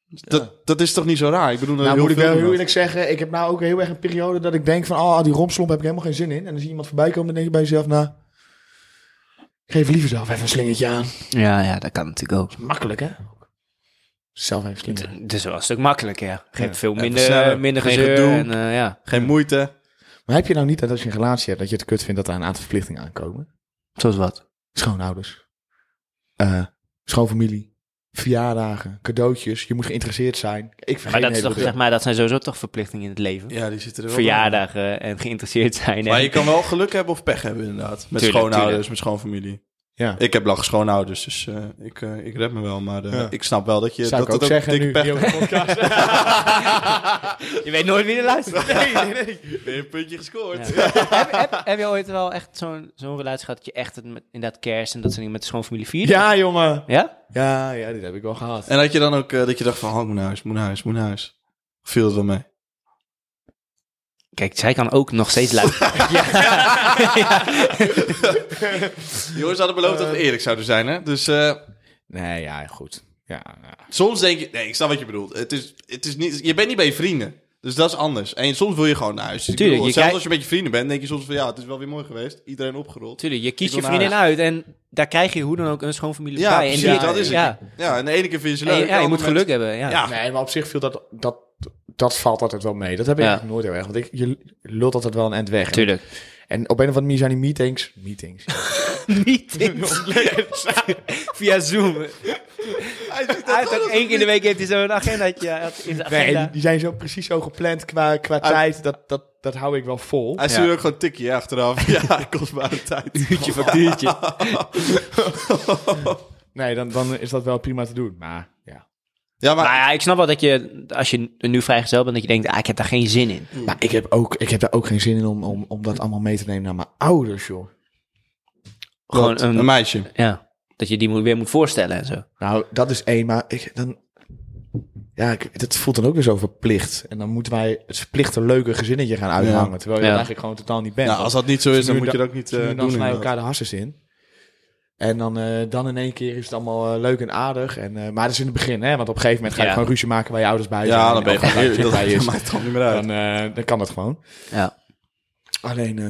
Speaker 2: Dat, dat is toch niet zo raar? Ik bedoel,
Speaker 1: Nou
Speaker 2: heel
Speaker 1: moet ik
Speaker 2: veel
Speaker 1: wel heel
Speaker 2: doen
Speaker 1: eerlijk zeggen, ik heb nou ook heel erg een periode dat ik denk van, oh, die romslomp heb ik helemaal geen zin in. En dan zie je iemand voorbij komen en denk je bij jezelf, nou, geef liever zelf even een slingertje aan.
Speaker 3: Ja, ja, dat kan natuurlijk ook.
Speaker 1: Makkelijk, hè? Zelf even slingeren.
Speaker 3: Het is wel een stuk makkelijker, ja. Geeft veel
Speaker 2: Ja,
Speaker 3: minder,
Speaker 2: sneller.
Speaker 3: eh, minder
Speaker 2: Geen
Speaker 3: gezeur.
Speaker 2: gedoe.
Speaker 3: En, eh, ja.
Speaker 2: dat. Geen moeite.
Speaker 1: Maar heb je nou niet dat als je een relatie hebt, dat je het kut vindt dat er een aantal verplichtingen aankomen?
Speaker 3: Zoals wat.
Speaker 1: Schoonouders. eh, schoonfamilie. verjaardagen, cadeautjes. Je moet geïnteresseerd zijn. Ik
Speaker 3: Maar
Speaker 1: vergeet
Speaker 3: dat, is toch,
Speaker 1: een
Speaker 3: zeg
Speaker 1: heleboel
Speaker 3: maar, dat zijn sowieso toch verplichtingen in het leven.
Speaker 2: Ja, die zitten er wel
Speaker 3: Verjaardagen en geïnteresseerd zijn.
Speaker 2: bij. Maar
Speaker 3: en-
Speaker 2: je kan wel geluk hebben of pech hebben, inderdaad. Met
Speaker 3: Tuurlijk,
Speaker 2: schoonouders,
Speaker 3: tuurlijk.
Speaker 2: met schoonfamilie.
Speaker 1: dingen. Ja.
Speaker 2: Ik heb lach schoonouders, dus eh, ik, eh, ik red me wel. Maar eh,
Speaker 1: Ja.
Speaker 2: ik snap wel dat je
Speaker 1: Zou
Speaker 2: dat
Speaker 1: ik ook
Speaker 2: het
Speaker 1: zeggen
Speaker 2: dikke
Speaker 1: nu.
Speaker 2: pech
Speaker 1: hier op de podcast.
Speaker 3: Je weet nooit wie er luistert.
Speaker 2: Weer een puntje gescoord.
Speaker 3: heb, heb, heb je ooit wel echt zo'n zo'n relatie gehad dat je echt het met, inderdaad kerst en dat soort dingen met de schoonfamilie vierde?
Speaker 1: ja, jongen.
Speaker 3: Ja?
Speaker 1: Ja, ja, dit heb ik wel gehad.
Speaker 2: En had je dan ook eh, dat je dacht van, oh, ik moet naar huis, moet naar huis, moet naar huis. Of Viel het wel mee?
Speaker 3: Kijk, zij kan ook nog steeds luisteren.
Speaker 2: Jongens hadden beloofd
Speaker 3: Eh,
Speaker 2: dat we eerlijk zouden zijn, hè? Dus eh,
Speaker 1: Nee, ja, goed. Ja, ja.
Speaker 2: soms denk je... Nee, ik snap wat je bedoelt. Het is, het is niet, je bent niet bij je vrienden. Dus dat is anders. En soms wil je gewoon naar huis. Dus ik
Speaker 3: Tuurlijk,
Speaker 2: bedoel,
Speaker 3: je
Speaker 2: zelfs
Speaker 3: kijkt-
Speaker 2: als je met je vrienden bent, denk je soms van... Ja, het is wel weer mooi geweest. Iedereen opgerold.
Speaker 3: Tuurlijk, je kiest
Speaker 2: Ik
Speaker 3: je
Speaker 2: wil
Speaker 3: vriendin
Speaker 2: naar
Speaker 3: uit en daar krijg je hoe dan ook een schoonfamilie
Speaker 2: Ja,
Speaker 3: bij. En
Speaker 2: precies,
Speaker 3: die-
Speaker 2: dat is het.
Speaker 3: Ja,
Speaker 2: Ja, en de ene keer vind je ze
Speaker 3: En
Speaker 2: leuk.
Speaker 3: je-
Speaker 2: de
Speaker 3: ja je
Speaker 2: andere
Speaker 3: moet
Speaker 2: mensen-
Speaker 3: geluk hebben. Ja.
Speaker 2: Ja.
Speaker 1: Nee, maar op zich viel dat, dat, dat valt altijd wel mee. Dat heb ik
Speaker 3: Ja.
Speaker 1: eigenlijk nooit heel erg. Want ik, je lult altijd wel een eind weg.
Speaker 3: Tuurlijk.
Speaker 1: En op een of andere manier zijn die meetings... Meetings.
Speaker 3: Meetings. Via Zoom.
Speaker 2: Hij ziet dat
Speaker 3: Hij heeft
Speaker 2: wel
Speaker 3: ook
Speaker 2: als
Speaker 3: één
Speaker 2: een
Speaker 3: keer in de week heeft hij zo'n agendaatje eh, in zijn
Speaker 1: Nee,
Speaker 3: agenda.
Speaker 1: die, die zijn zo precies zo gepland qua, qua
Speaker 2: Ah.
Speaker 1: tijd. Dat, dat, dat hou ik wel vol.
Speaker 2: Hij stuurt ook gewoon een tikje achteraf. Ja, kostbare tijd.
Speaker 3: Uurtje factuurtje.
Speaker 1: Nee, dan, dan is dat wel prima te doen. Maar ja.
Speaker 2: Ja, maar...
Speaker 3: Maar ja, ik snap wel dat je, als je nu vrijgezel bent, dat je denkt, ah, ik heb daar geen zin in.
Speaker 1: Mm. Maar ik heb, ook, ik heb daar ook geen zin in om, om, om dat allemaal mee te nemen naar mijn ouders, joh.
Speaker 3: Gewoon
Speaker 2: Een
Speaker 3: een,
Speaker 2: meisje.
Speaker 3: ja, dat je die moet, weer moet voorstellen en zo.
Speaker 1: Nou, dat is één, maar ik, dan... Ja, ik, dat voelt dan ook weer zo verplicht. En dan moeten wij het verplichte leuke gezinnetje gaan uithangen. Terwijl je
Speaker 3: Ja.
Speaker 1: dat eigenlijk gewoon totaal niet bent.
Speaker 2: Nou, als dat niet zo is, dan
Speaker 1: nu
Speaker 2: moet je
Speaker 1: da-
Speaker 2: dat ook niet
Speaker 1: Ze
Speaker 2: eh,
Speaker 1: doen
Speaker 2: doen.
Speaker 1: dan snijden
Speaker 2: inderdaad.
Speaker 1: elkaar de hassers in. En dan, eh, dan in één keer is het allemaal eh, leuk en aardig. En, eh, maar dat is in het begin, hè? Want op een gegeven moment ga je
Speaker 3: Ja.
Speaker 1: gewoon ruzie maken waar je ouders bij zijn.
Speaker 2: Ja, dan ben je
Speaker 1: En als
Speaker 2: gewoon...
Speaker 1: daar
Speaker 2: Dat
Speaker 1: bij
Speaker 2: dat
Speaker 1: is,
Speaker 2: maakt het gewoon niet meer uit.
Speaker 1: dan, eh, dan kan dat gewoon.
Speaker 3: Ja.
Speaker 1: Alleen, eh,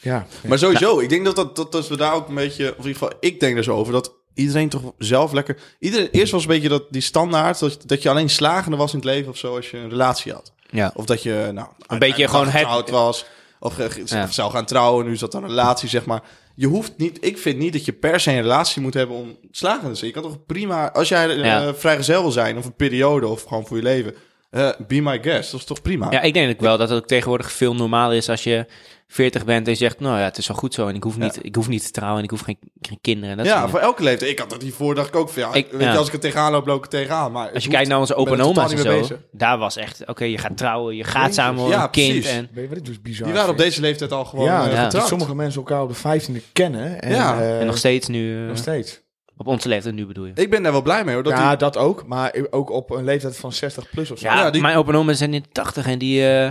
Speaker 1: ja.
Speaker 2: Maar sowieso,
Speaker 3: Nou.
Speaker 2: ik denk dat, dat, dat, dat we daar ook een beetje, of in ieder geval, ik denk er zo over, dat iedereen toch zelf lekker. Iedereen, eerst was een beetje dat, die standaard, dat, je- dat je alleen slagende was in het leven of zo als je een relatie had.
Speaker 3: Ja.
Speaker 2: Of dat je, nou, uiteindelijk
Speaker 3: beetje gewoon het-
Speaker 2: getrouwd was. Of eh, ge-
Speaker 3: Ja.
Speaker 2: zou gaan trouwen, nu is dat dan een relatie, zeg maar. Je hoeft niet, ik vind niet dat je per se een relatie moet hebben om slagende te zijn. Je kan toch prima, als jij eh,
Speaker 3: Ja.
Speaker 2: vrijgezel wil zijn, of een periode, of gewoon voor je leven, eh, be my guest, dat is toch prima?
Speaker 3: ja, ik denk ook wel dat het ook tegenwoordig veel normaal is als je 40 bent en je zegt, nou ja, het is wel goed zo en ik hoef niet, ik hoef niet te trouwen en ik hoef geen, geen kinderen. En dat soort
Speaker 2: ja,
Speaker 3: dingen.
Speaker 2: voor elke leeftijd. Ik had dat hiervoor, dacht ik ook van ja,
Speaker 3: Ik-
Speaker 2: weet
Speaker 3: ja.
Speaker 2: je, als ik er tegenaan loop, loop ik er tegenaan. Maar
Speaker 3: Als je
Speaker 2: het
Speaker 3: kijkt naar onze
Speaker 2: hoeft-
Speaker 3: opa
Speaker 2: ik
Speaker 3: en
Speaker 2: ben er
Speaker 3: oma's en
Speaker 2: totaal niet mee
Speaker 3: zo,
Speaker 2: bezig.
Speaker 3: daar was echt, oké, je gaat trouwen, je gaat samen
Speaker 2: Ja,
Speaker 3: een kind.
Speaker 2: precies.
Speaker 3: En,
Speaker 1: Weet je wat ik dus bizar
Speaker 2: Die waren op
Speaker 1: vind?
Speaker 2: deze leeftijd al gewoon eh,
Speaker 1: Ja, dat-
Speaker 3: ja.
Speaker 1: dat
Speaker 2: getrouwd.
Speaker 1: sommige mensen elkaar op de vijftiende kennen. En,
Speaker 2: Ja.
Speaker 1: eh,
Speaker 3: en nog steeds nu, eh,
Speaker 1: nog steeds.
Speaker 3: op onze leeftijd nu bedoel je.
Speaker 2: Ik ben daar wel blij mee hoor. Dat
Speaker 1: ja,
Speaker 2: die-
Speaker 1: dat ook. Maar ook op een leeftijd van 60 plus of zo.
Speaker 3: Ja,
Speaker 2: Ja, die-
Speaker 3: mijn opa en oma zijn in de 80 en die, eh,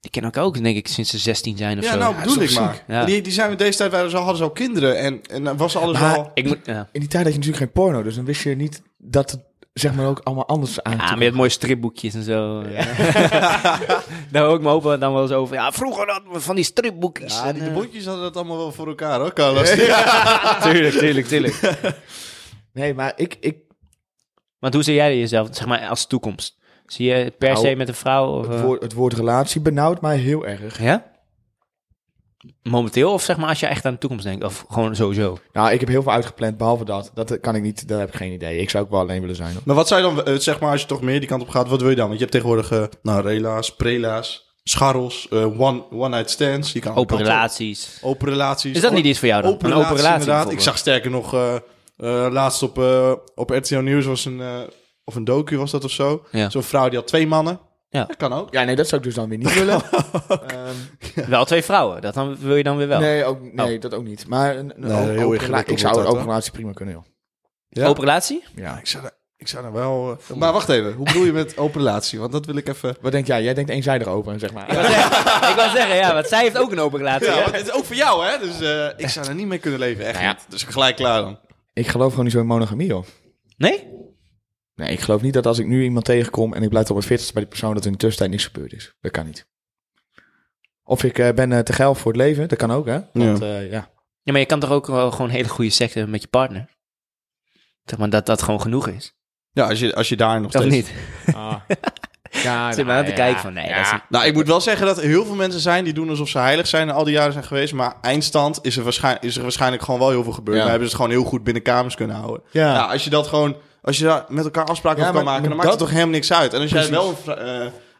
Speaker 3: die kennen elkaar ook, denk ik, sinds ze 16 zijn of
Speaker 2: ja,
Speaker 3: zo.
Speaker 2: nou bedoel ik
Speaker 1: toch
Speaker 2: maar.
Speaker 3: Ja.
Speaker 2: Die, die zijn we deze tijd, waren ze, al- hadden ze al kinderen en, en dan was alles
Speaker 1: Maar-
Speaker 2: al...
Speaker 3: ik moet, ja. Ah,
Speaker 1: In die tijd had je natuurlijk geen porno. Dus dan wist je niet dat het zeg maar ook allemaal anders aan
Speaker 3: Ja, met mooie stripboekjes en zo. Daar hoor ik me opa dan wel eens over. Ja, vroeger hadden we van die stripboekjes.
Speaker 2: Ja,
Speaker 3: en,
Speaker 2: die, de
Speaker 3: eh,
Speaker 2: bondjes hadden dat allemaal wel voor elkaar hoor, Carlos.
Speaker 3: tuurlijk, tuurlijk, tuurlijk.
Speaker 1: Nee, maar ik, ik
Speaker 3: Want hoe zie jij jezelf, zeg maar, als toekomst? Zie je het per
Speaker 1: Nou,
Speaker 3: se met een vrouw? Of,
Speaker 1: het,
Speaker 3: eh,
Speaker 1: woord, het woord relatie benauwt mij heel erg.
Speaker 3: ja? Momenteel of zeg maar als je echt aan de toekomst denkt? Of gewoon sowieso?
Speaker 1: Nou, ik heb heel veel uitgepland, behalve dat. Dat kan ik niet, daar heb ik geen idee. Ik zou ook wel alleen willen zijn. Hoor.
Speaker 2: maar wat zou je dan, eh, zeg maar, als je toch meer die kant op gaat, wat wil je dan? Want je hebt tegenwoordig, eh, nou, rela's, prela's, scharrels, eh, one, one night stands. Je kan
Speaker 3: Open
Speaker 2: kan-
Speaker 3: relaties.
Speaker 2: Open relaties.
Speaker 3: Is Oh, dat niet iets voor jou dan?
Speaker 2: Open
Speaker 3: Een
Speaker 2: relatie,
Speaker 3: open relatie
Speaker 2: inderdaad. Ik
Speaker 3: bijvoorbeeld.
Speaker 2: zag sterker nog eh, eh, laatst op, eh, op RTL Nieuws was een, eh, of een docu was dat of zo.
Speaker 3: Ja.
Speaker 2: Zo'n vrouw die had twee mannen.
Speaker 3: Ja.
Speaker 2: Dat kan ook.
Speaker 1: Ja, nee, dat zou ik dus dan weer niet willen. Ehm,
Speaker 3: Wel twee vrouwen, dat dan, wil je dan weer wel. Oh.
Speaker 1: nee, ook, nee dat ook niet. Maar een, een
Speaker 2: Nee,
Speaker 1: open
Speaker 2: heel
Speaker 1: rela-
Speaker 2: ingewikkeld
Speaker 1: ik zou
Speaker 2: wordt
Speaker 1: een
Speaker 2: dat,
Speaker 1: open relatie prima kunnen, joh.
Speaker 2: Ja.
Speaker 3: Open relatie?
Speaker 1: Ja.
Speaker 2: Ik zou daar, ik zou daar wel... eh, maar wacht even, hoe bedoel je met open relatie? Want dat wil ik even...
Speaker 1: Wat denk jij? Jij denkt eenzijdig open, zeg maar.
Speaker 3: Ik wou zeggen, ik wou zeggen, ja, want zij heeft ook een open relatie. hè?
Speaker 2: want het is ook voor jou, hè? Dus eh, ik zou daar niet mee kunnen leven, echt
Speaker 1: Nou ja.
Speaker 2: niet. Dus gelijk klaar dan.
Speaker 1: Ik geloof gewoon niet zo in monogamie, joh.
Speaker 3: Nee?
Speaker 1: Nee, ik geloof niet dat als ik nu iemand tegenkom en ik blijf tot mijn veertigste bij die persoon, dat er in de tussentijd niks gebeurd is. Dat kan niet. Of ik eh, ben eh, te geil voor het leven, dat kan ook, hè? Want, eh, ja.
Speaker 3: Ja, maar je kan toch ook wel gewoon hele goede seks hebben met je partner? Zeg maar dat dat gewoon genoeg is.
Speaker 2: Ja, als je, als je daar nog
Speaker 3: Of
Speaker 2: steeds...
Speaker 3: niet?
Speaker 1: Ah. Ja,
Speaker 3: Zit maar aan te kijken van, nee, dat is niet-
Speaker 2: Nou, ik moet wel zeggen dat er heel veel mensen zijn die doen alsof ze heilig zijn en al die jaren zijn geweest. Maar eindstand is er, waarschijn- is er waarschijnlijk gewoon wel heel veel gebeurd.
Speaker 1: Ja.
Speaker 2: Maar hebben ze het gewoon heel goed binnen kamers kunnen houden.
Speaker 1: Ja.
Speaker 2: Nou, als je dat gewoon... Oké, Als je daar met elkaar afspraken
Speaker 1: Ja,
Speaker 2: over kan
Speaker 1: maar-
Speaker 2: maken, dan
Speaker 1: maar
Speaker 2: maakt het
Speaker 1: dat-
Speaker 2: toch helemaal niks uit. En als jij
Speaker 1: Precies.
Speaker 2: wel een, vri-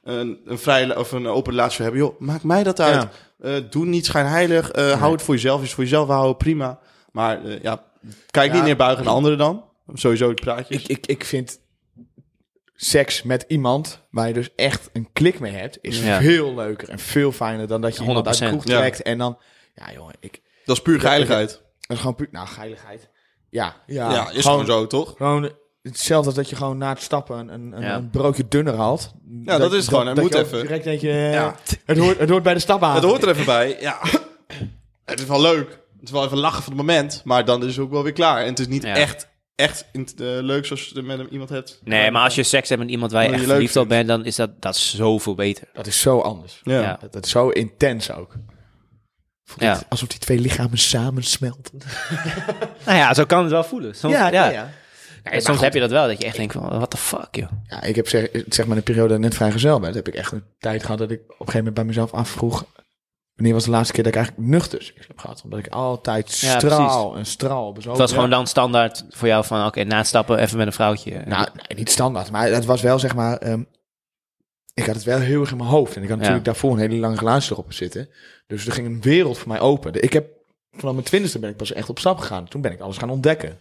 Speaker 2: eh, een, een vrij of een open relatie wil hebben, joh, maakt mij dat uit.
Speaker 1: Ja.
Speaker 2: Eh, doe niet schijnheilig. eh Hou het voor jezelf. Is voor jezelf houden, prima. Maar eh, ja, kijk
Speaker 1: Ja.
Speaker 2: niet neerbuigen naar anderen dan. Sowieso het praatjes.
Speaker 1: Ik, ik, ik vind seks met iemand waar je dus echt een klik mee hebt, is
Speaker 3: Ja.
Speaker 1: veel leuker en veel fijner dan dat je iemand uit de
Speaker 3: 100%.
Speaker 1: kroeg
Speaker 2: Ja.
Speaker 1: trekt en dan... Ja, jongen, ik...
Speaker 2: dat is puur geiligheid.
Speaker 1: Dat is gewoon puur... Nou, geiligheid. Ja,
Speaker 2: Ja,
Speaker 1: ja.
Speaker 2: is gewoon, zo, toch?
Speaker 1: Gewoon hetzelfde als dat je gewoon na het stappen een, een,
Speaker 3: Ja.
Speaker 1: een broodje dunner haalt.
Speaker 2: Ja, dat is gewoon, het moet
Speaker 1: je ook
Speaker 2: even.
Speaker 1: Direct denk je, eh,
Speaker 2: Ja.
Speaker 1: het, hoort, het hoort bij de stappen aan.
Speaker 2: Het hoort er even bij. Ja. Het is wel leuk. Het is wel even lachen van het moment. Maar dan is het ook wel weer klaar. En het is niet
Speaker 3: Ja.
Speaker 2: echt, echt in- eh, leuk zoals je het met iemand hebt.
Speaker 3: Nee, maar als je seks hebt met iemand waar je
Speaker 2: Omdat
Speaker 3: echt
Speaker 2: je leuk
Speaker 3: verliefd op
Speaker 2: vindt.
Speaker 3: bent, dan is dat, dat is zoveel beter.
Speaker 1: Dat is zo anders.
Speaker 2: Ja.
Speaker 3: Ja.
Speaker 1: Dat, dat is zo intens ook. Voelt
Speaker 3: Ja.
Speaker 1: het alsof die twee lichamen samensmelten.
Speaker 3: Nou ja, zo kan het wel voelen. Soms, ja,
Speaker 1: ja.
Speaker 3: Ja,
Speaker 1: maar
Speaker 3: soms
Speaker 1: goed.
Speaker 3: heb je dat wel, dat je echt denkt van, what the fuck, joh.
Speaker 1: Ja, ik heb zeg, zeg maar een periode dat ik net vrijgezel ben. heb ik echt een tijd gehad dat ik op een gegeven moment bij mezelf afvroeg... wanneer was de laatste keer dat ik eigenlijk nuchter seks heb gehad? Omdat ik altijd
Speaker 3: Ja,
Speaker 1: straal en straal
Speaker 3: Het
Speaker 1: bezogen.
Speaker 3: was gewoon dan standaard voor jou van, oké, na het stappen even met een vrouwtje.
Speaker 1: Nou, nee, niet standaard, maar het was wel zeg maar. ehm, ik had het wel heel erg in mijn hoofd. En ik had natuurlijk daarvoor een hele lange relatie erop zitten. Dus er ging een wereld voor mij open. De- Ik heb vanaf mijn twintigste ben ik pas echt op stap gegaan. Toen ben ik alles gaan ontdekken.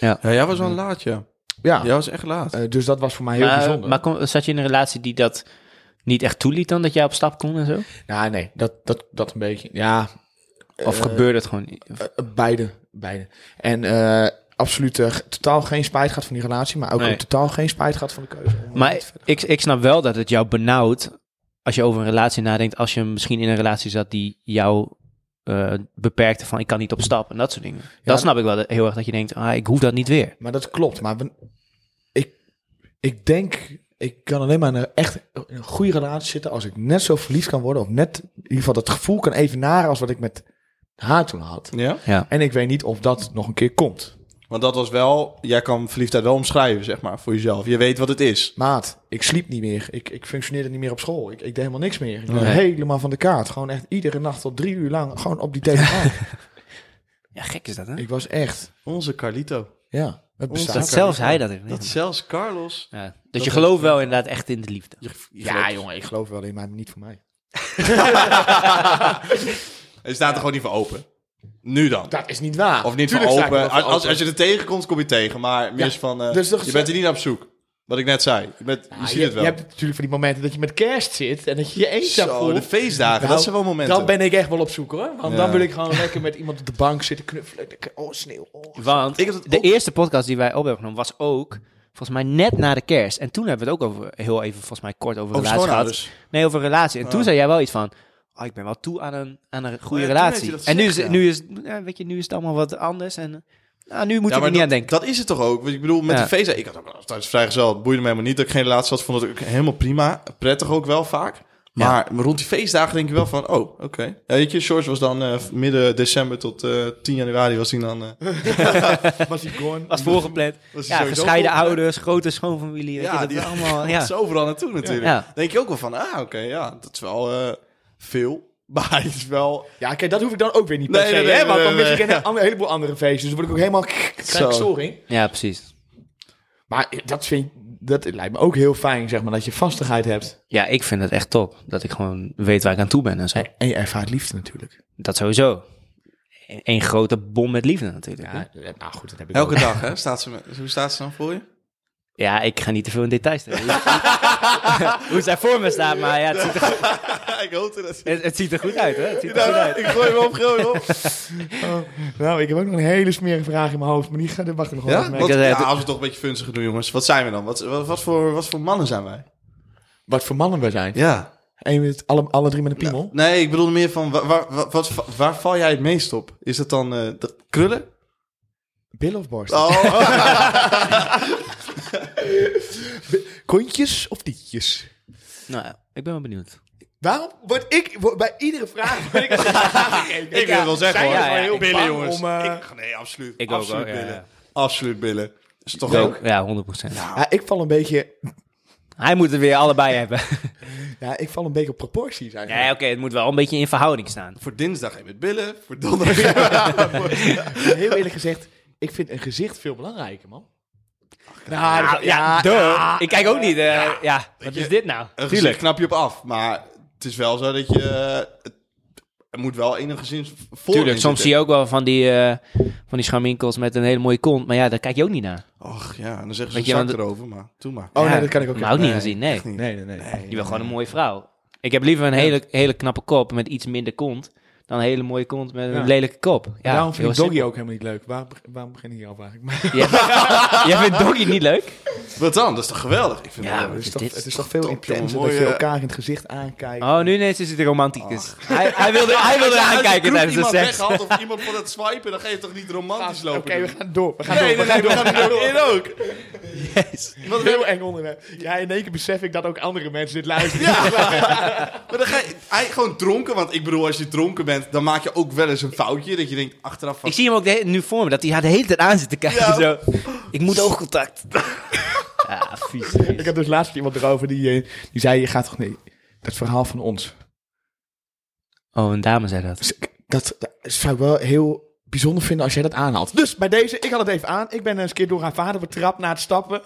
Speaker 2: Ja, jij was wel laat, ja.
Speaker 1: Ja,
Speaker 2: Jij was echt laat.
Speaker 1: eh, dus dat was voor mij heel
Speaker 3: maar,
Speaker 1: bijzonder.
Speaker 3: maar kon- zat je in een relatie die dat niet echt toeliet dan, dat jij op stap kon en zo?
Speaker 1: Ja, nee, dat, dat, dat een beetje. Ja,
Speaker 3: Of
Speaker 1: Eh,
Speaker 3: gebeurde het gewoon niet? Of-
Speaker 1: eh, beide, beide. En eh, absoluut eh, totaal geen spijt gehad van die relatie. Maar ook,
Speaker 3: Nee.
Speaker 1: ook totaal geen spijt gehad van de keuze. om
Speaker 3: Maar
Speaker 1: niet verder-
Speaker 3: ik, ik snap wel dat het jou benauwt als je over een relatie nadenkt. Als je misschien in een relatie zat die jou eh, beperkte van ik kan niet op stap en dat soort dingen. dat
Speaker 1: dat-
Speaker 3: snap ik wel dat- heel erg dat je denkt, ah, ik hoef dat niet weer.
Speaker 1: Maar dat klopt. Maar we- ik, ik denk, ik kan alleen maar in een echt in een goede relatie zitten als ik net zo verliefd kan worden. Of net in ieder geval dat gevoel kan evenaren als wat ik met haar toen had.
Speaker 2: Ja?
Speaker 1: En ik weet niet of dat nog een keer komt.
Speaker 2: Want dat was wel... Jij kan verliefdheid wel omschrijven, zeg maar, voor jezelf. Je weet wat het is.
Speaker 1: Maat, ik sliep niet meer. Ik, ik functioneerde niet meer op school. Ik, ik deed helemaal niks meer. Ik was
Speaker 3: Nee.
Speaker 1: helemaal van de kaart. Gewoon echt iedere nacht tot drie uur lang gewoon op die telefoon.
Speaker 3: Ja, gek is dat hè?
Speaker 1: ik was echt,
Speaker 2: Onze Carlito.
Speaker 1: ja, het
Speaker 2: Ons
Speaker 1: bestaat.
Speaker 3: dat zelfs hij dat heeft
Speaker 2: Dat
Speaker 3: meegemaakt.
Speaker 2: zelfs Carlos...
Speaker 3: ja, dat,
Speaker 2: dat
Speaker 3: je
Speaker 2: is-
Speaker 3: gelooft wel inderdaad echt in de liefde.
Speaker 1: Ja, jongen, ik geloof wel in, maar niet voor mij.
Speaker 2: Hij staat er gewoon niet voor open. Nu dan.
Speaker 1: Dat is niet waar.
Speaker 2: Of niet
Speaker 1: Tuurlijk
Speaker 2: van
Speaker 1: sta ik
Speaker 2: open.
Speaker 1: er wel
Speaker 2: Als,
Speaker 1: voor
Speaker 2: als,
Speaker 1: open.
Speaker 2: als je er tegenkomt, kom je tegen. Maar meer
Speaker 1: Ja,
Speaker 2: is van, eh,
Speaker 1: dus toch-
Speaker 2: je bent er niet naar op zoek. Wat ik net zei. Je, bent, je
Speaker 1: Ah,
Speaker 2: ziet
Speaker 1: je,
Speaker 2: het wel.
Speaker 1: je hebt natuurlijk van die momenten dat je met kerst zit en dat je je eenzaam
Speaker 2: Zo, de
Speaker 1: voelt.
Speaker 2: feestdagen.
Speaker 1: Nou,
Speaker 2: dat zijn wel momenten.
Speaker 1: Dan ben ik echt wel op zoek hoor. Want
Speaker 2: Ja.
Speaker 1: dan wil ik gewoon lekker met iemand op de bank zitten knuffelen. Lekker, Oh, sneeuw. Oh.
Speaker 3: Want
Speaker 2: Ik had het
Speaker 3: de
Speaker 2: ook-
Speaker 3: eerste podcast die wij op hebben genomen was ook volgens mij net na de kerst. En toen hebben we het ook over, heel even volgens mij kort over,
Speaker 2: Over
Speaker 3: relatie gehad.
Speaker 2: schoonouders.
Speaker 3: Nee, over relatie. En toen
Speaker 2: Ah.
Speaker 3: zei jij wel iets van, oh, ik ben wel toe aan een, aan een goede
Speaker 2: Oh ja, toen heb je
Speaker 3: relatie.
Speaker 2: dat
Speaker 3: En nu is,
Speaker 2: gezegd, ja.
Speaker 3: nu, is, ja, weet je, nu is het allemaal wat anders. En eh, nou, nu
Speaker 2: Ja,
Speaker 3: moet je er
Speaker 2: maar
Speaker 3: niet aan
Speaker 2: dat,
Speaker 3: denken.
Speaker 2: dat is het toch ook? Want ik bedoel, met
Speaker 3: Ja.
Speaker 2: de feestdagen... Ik had ook wel tijdens vrijgezel. Het boeide me helemaal niet dat ik geen relatie had. Vond het ook helemaal prima. Prettig ook wel vaak. Maar rond die feestdagen denk je wel van... Oh, oké. Ja, weet je, George was dan eh, midden december tot eh, 10 januari was hij dan... eh,
Speaker 1: Was hij gone?
Speaker 3: was voorgepland.
Speaker 2: was hij
Speaker 3: Ja,
Speaker 2: sowieso
Speaker 3: gescheiden
Speaker 2: vol-
Speaker 3: ouders, grote schoonfamilie. weet je,
Speaker 2: Ja,
Speaker 3: dat
Speaker 2: die-
Speaker 3: allemaal.
Speaker 2: Oh, Ja.
Speaker 3: Ja.
Speaker 2: is overal naartoe natuurlijk.
Speaker 3: Ja.
Speaker 2: Denk je ook wel van, ah, oké, ja, dat is wel eh, veel. Maar het is wel...
Speaker 1: Ja, kijk, dat hoef ik dan ook weer niet per
Speaker 2: Nee,
Speaker 1: se,
Speaker 2: nee, nee,
Speaker 1: hè, want dan
Speaker 2: nee,
Speaker 1: mis ik
Speaker 2: nee.
Speaker 1: een, ander- heleboel andere feestjes. Dus dan word ik ook helemaal krijg
Speaker 2: Zo.
Speaker 1: ik storing.
Speaker 3: ja, precies.
Speaker 1: Maar dat vind dat lijkt me ook heel fijn, zeg maar, dat je vastigheid hebt.
Speaker 3: Ja, ik vind het echt top. Dat ik gewoon weet waar ik aan toe ben en zo.
Speaker 1: En je ervaart liefde natuurlijk.
Speaker 3: Dat sowieso. E- Eén grote bom met liefde natuurlijk. hè. Ja,
Speaker 1: Ja, nou goed, dat heb ik
Speaker 2: Elke
Speaker 1: ook.
Speaker 2: dag, hè? Staat ze met, hoe staat ze dan voor je?
Speaker 3: ik ga niet te veel in details treden. Hoe zij voor me staat, maar ja, het ziet er,
Speaker 2: ik hoop dat...
Speaker 3: het, het ziet er goed uit. Hè? Het ziet er goed
Speaker 2: Ja,
Speaker 3: uit.
Speaker 2: ik gooi hem op, gooi hem op.
Speaker 1: Nou, ik heb ook nog een hele smerige vraag in mijn hoofd, maar die ga- daar mag ik nog wel
Speaker 2: Ja?
Speaker 1: even mee.
Speaker 2: Wat-
Speaker 3: Ik had-
Speaker 2: ja, als we toch een beetje funzig doen, jongens. Wat zijn we dan? Wat, wat, wat voor, wat voor mannen zijn wij?
Speaker 1: Wat voor mannen we zijn.
Speaker 2: Ja.
Speaker 1: Eén met alle, alle drie met een piemel.
Speaker 2: Nee, ik bedoel meer van, waar, waar, wat- wat, waar val jij het meest op? Is dat dan eh, dat, krullen?
Speaker 1: Billen of borst?
Speaker 2: Oh,
Speaker 1: Kontjes of tietjes?
Speaker 3: Nou, ja, ik ben wel benieuwd.
Speaker 1: Waarom word ik wo- bij iedere vraag word ik
Speaker 2: ik wil het wel zeggen, hoor.
Speaker 3: ja, ja, ik
Speaker 2: billen,
Speaker 1: bang
Speaker 2: jongens.
Speaker 1: om, eh,
Speaker 2: Ik- nee, absoluut.
Speaker 3: Ik ook
Speaker 2: absoluut
Speaker 3: wel, ja,
Speaker 2: billen.
Speaker 3: ja.
Speaker 2: Absoluut billen. Is toch
Speaker 3: Ja,
Speaker 2: ook...
Speaker 3: Ja, 100 procent.
Speaker 1: Ja, ik val een beetje,
Speaker 3: Hij moet het weer allebei hebben.
Speaker 1: ja, ik val een beetje op proporties
Speaker 3: Nee,
Speaker 1: eigenlijk.
Speaker 3: oké, het moet wel een beetje in verhouding staan.
Speaker 2: Voor dinsdag heb je het billen, voor donderdag.
Speaker 1: Heel eerlijk gezegd, ik vind een gezicht veel belangrijker, man. Nou, dat- ja,
Speaker 3: duh.
Speaker 1: ja.
Speaker 3: ik kijk ook niet. eh, ja. wat
Speaker 2: je-
Speaker 3: is dit nou?
Speaker 2: Een
Speaker 1: Tuurlijk.
Speaker 2: gezicht knap je op af. Maar het is wel zo dat je... eh, het- Er moet wel enigszins voor
Speaker 3: Tuurlijk, soms zie je ook wel van die, eh, van die scharminkels met een hele mooie kont. Maar ja, daar kijk je ook niet naar.
Speaker 2: Och ja, en dan zeggen ze
Speaker 3: Weet
Speaker 2: een
Speaker 3: je,
Speaker 2: zak
Speaker 3: want-
Speaker 2: erover. Maar doe maar.
Speaker 1: Oh,
Speaker 3: Ja,
Speaker 1: nee, dat kan ik ook
Speaker 3: Maar ook
Speaker 1: niet.
Speaker 3: niet gezien, nee.
Speaker 2: niet.
Speaker 1: Nee, nee, nee. nee.
Speaker 3: Je wil gewoon een mooie vrouw. Ik heb liever een hele, hele knappe kop met iets minder kont... dan een hele mooie kont met een
Speaker 1: Ja.
Speaker 3: lelijke kop. Ja,
Speaker 1: Daarom vind
Speaker 3: heel
Speaker 1: ik Doggy
Speaker 3: simpel.
Speaker 1: ook helemaal niet leuk. Waar, waarom begin ik hier al eigenlijk? Maar
Speaker 3: Jij vindt Doggy niet leuk?
Speaker 2: Wat dan? Dat is toch geweldig? Ik vind
Speaker 3: Ja,
Speaker 2: het wel-
Speaker 1: het, is
Speaker 3: dit
Speaker 1: toch,
Speaker 3: is
Speaker 1: het is toch veel
Speaker 2: top, jongen.
Speaker 1: intenser
Speaker 2: Mooie-
Speaker 1: dat je elkaar in het gezicht aankijkt.
Speaker 3: Oh, nu ineens is het een romanticus.
Speaker 1: Oh.
Speaker 3: Hij, hij wilde, hij wilde
Speaker 2: Als je
Speaker 3: aankijken
Speaker 2: kroeg
Speaker 3: tijdens de
Speaker 2: iemand
Speaker 3: seks.
Speaker 2: weghaalt of iemand van het swipen, dan ga je toch niet romantisch
Speaker 1: Oké,
Speaker 3: Oh.
Speaker 2: lopen doen?
Speaker 1: we gaan door. We gaan
Speaker 2: Nee,
Speaker 1: door.
Speaker 2: nee, nee, we gaan er in ook.
Speaker 1: Wat heel eng onderwerp. Ja, in één keer besef ik dat ook andere mensen dit luisteren.
Speaker 2: Ja, maar- maar dan ga je hij gewoon dronken. Want ik bedoel, als je dronken bent, dan maak je ook wel eens een foutje. Dat je denkt achteraf van...
Speaker 3: Ik zie hem ook de he- nu voor me, dat hij haar de hele tijd aan zit te kijken.
Speaker 2: Ja.
Speaker 3: Zo. Ik moet oogcontact. Ja, vies.
Speaker 1: Ik had dus laatst iemand erover die, eh, die zei, je gaat toch niet... Dat verhaal van ons.
Speaker 3: Oh, een dame zei dat.
Speaker 1: Dus ik- Dat, dat zou ik wel heel bijzonder vinden als jij dat aanhaalt. Dus bij deze, ik had het even aan. Ik ben eens een keer door haar vader betrapt na het stappen.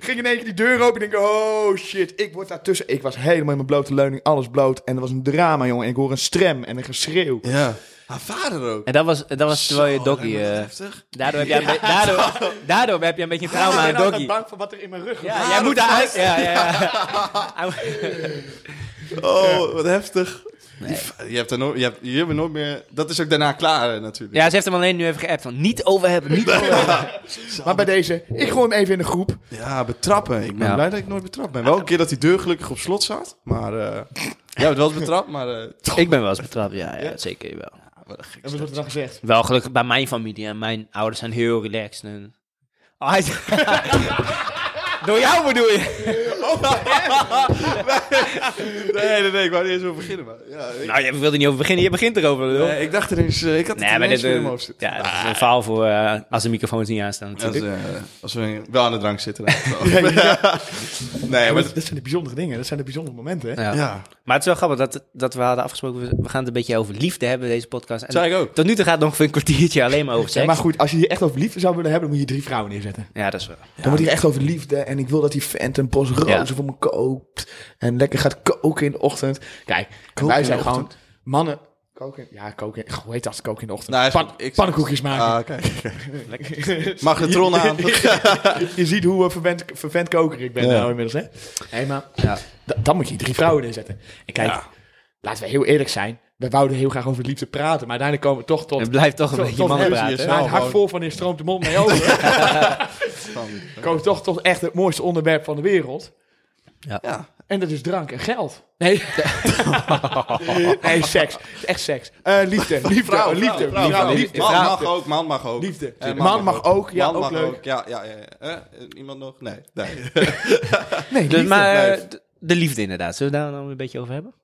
Speaker 1: Ging in één keer die deur open en ik denk, oh shit, ik word daartussen. Ik was helemaal in mijn blote leuning, alles bloot. En er was een drama, jongen. En ik hoor een strem en een geschreeuw.
Speaker 2: Ja. Haar vader ook.
Speaker 3: En dat was, dat was terwijl je
Speaker 2: Zo,
Speaker 3: doggy...
Speaker 2: lijkt me dat
Speaker 3: eh,
Speaker 2: heftig.
Speaker 3: daardoor, heb jij een be- daardoor, daardoor heb je een beetje een trauma
Speaker 1: ik
Speaker 3: aan
Speaker 1: ben altijd
Speaker 3: doggy.
Speaker 1: bang voor wat er in mijn rug
Speaker 3: Ja, jij moet daar... Ja, ja, ja.
Speaker 2: Oh, wat heftig. Die fa- Je hebt daar nooit, je hebt, jullie hebben nooit meer... Dat is ook daarna klaar eh, natuurlijk.
Speaker 3: ja, ze heeft hem alleen nu even geappt van niet over hebben, niet over hebben.
Speaker 1: Maar bij deze, ik gooi hem even in de groep.
Speaker 2: Ja, betrappen. Ik ben
Speaker 3: Ja.
Speaker 2: blij dat ik nooit betrapt ben. Wel een keer dat die deur gelukkig op slot zat. Maar eh jij hebt wel eens betrapt, maar... eh, toch.
Speaker 3: Ik ben wel eens betrapt, ja, ja, zeker wel.
Speaker 2: Wat een gek.
Speaker 1: En wat wordt er dan gezegd?
Speaker 3: Wel gelukkig bij mijn familie en mijn ouders zijn heel relaxed. En... Oh, hij is- Door jou bedoel je? Oh,
Speaker 2: Nee, nee, nee, ik wou niet eens over beginnen. Maar, ja, ik,
Speaker 3: Nou, je wilde niet over beginnen, je begint erover. lul.
Speaker 2: Nee, ik dacht ineens... eh, ik had het
Speaker 3: Nee, maar
Speaker 2: ineens weer
Speaker 3: dit
Speaker 2: in
Speaker 3: eh,
Speaker 2: mijn hoofd zitten.
Speaker 3: ja, dat is een verhaal voor eh, als de microfoons niet aanstaan.
Speaker 2: Als,
Speaker 3: natuurlijk.
Speaker 2: eh, als we wel aan de drank zitten. dan. nee,
Speaker 1: Ja,
Speaker 2: maar...
Speaker 1: maar dat, dat zijn de bijzondere dingen, dat zijn de bijzondere momenten. Hè?
Speaker 3: Ja.
Speaker 2: Ja.
Speaker 3: Maar het is wel grappig dat, dat we hadden afgesproken, we- we gaan het een beetje over liefde hebben, deze podcast. En
Speaker 2: Zei ik ook.
Speaker 3: Tot nu toe gaat het nog een kwartiertje alleen maar over
Speaker 1: Ja,
Speaker 3: seks.
Speaker 1: maar goed, als je hier echt over liefde zou willen hebben, dan moet je drie vrouwen neerzetten.
Speaker 3: Ja, dat is wel.
Speaker 1: Dan wordt hier echt over liefde. En ik wil dat die vent een bos rozen
Speaker 3: Ja.
Speaker 1: voor me koopt. En lekker gaat koken in de ochtend. Kijk, en wij
Speaker 2: in
Speaker 1: zijn
Speaker 2: de
Speaker 1: gewoon mannen. Koken. Ja, koken. in- Hoe heet dat? Koken in de ochtend.
Speaker 2: Nou, is
Speaker 1: Pan-
Speaker 2: goed. Ik-
Speaker 1: pannenkoekjes maken.
Speaker 2: Ah, kijk. Magnetron aan.
Speaker 1: Je ziet hoe eh, verwend, verwend koker ik ben
Speaker 2: Ja.
Speaker 1: nou inmiddels, hè? Hé, maar
Speaker 3: Ja.
Speaker 1: da- dan moet je drie vrouwen inzetten. En kijk,
Speaker 2: Ja.
Speaker 1: laten we heel eerlijk zijn. We wouden heel graag over liefde praten. Maar uiteindelijk komen we toch tot...
Speaker 3: Het blijft toch een
Speaker 1: tot-
Speaker 3: beetje
Speaker 1: tot-
Speaker 3: mannen
Speaker 1: tot-
Speaker 3: praten.
Speaker 1: Nou,
Speaker 2: hè?
Speaker 1: het hart vol van hier stroomt de mond mee over. komen we toch tot echt het mooiste onderwerp van de wereld.
Speaker 2: Ja.
Speaker 1: En dat is drank en geld. Nee. nee, seks. Het is Echt seks. Eh, liefde. Liefde.
Speaker 2: Vrouw,
Speaker 1: liefde.
Speaker 2: liefde,
Speaker 1: liefde.
Speaker 2: vrouw,
Speaker 1: liefde.
Speaker 2: Man
Speaker 1: Vrouw.
Speaker 2: mag ook, man mag ook.
Speaker 1: Liefde.
Speaker 2: Eh,
Speaker 1: Man mag ook. Ja,
Speaker 2: Man
Speaker 1: ook
Speaker 2: mag
Speaker 1: leuk.
Speaker 2: Ja, ja, ja. ja. Eh, eh, iemand nog? Nee. nee.
Speaker 1: Nee,
Speaker 3: Dus,
Speaker 1: liefde.
Speaker 3: maar eh,
Speaker 2: blijft.
Speaker 3: de- de liefde inderdaad, zullen we daar nou een beetje over hebben?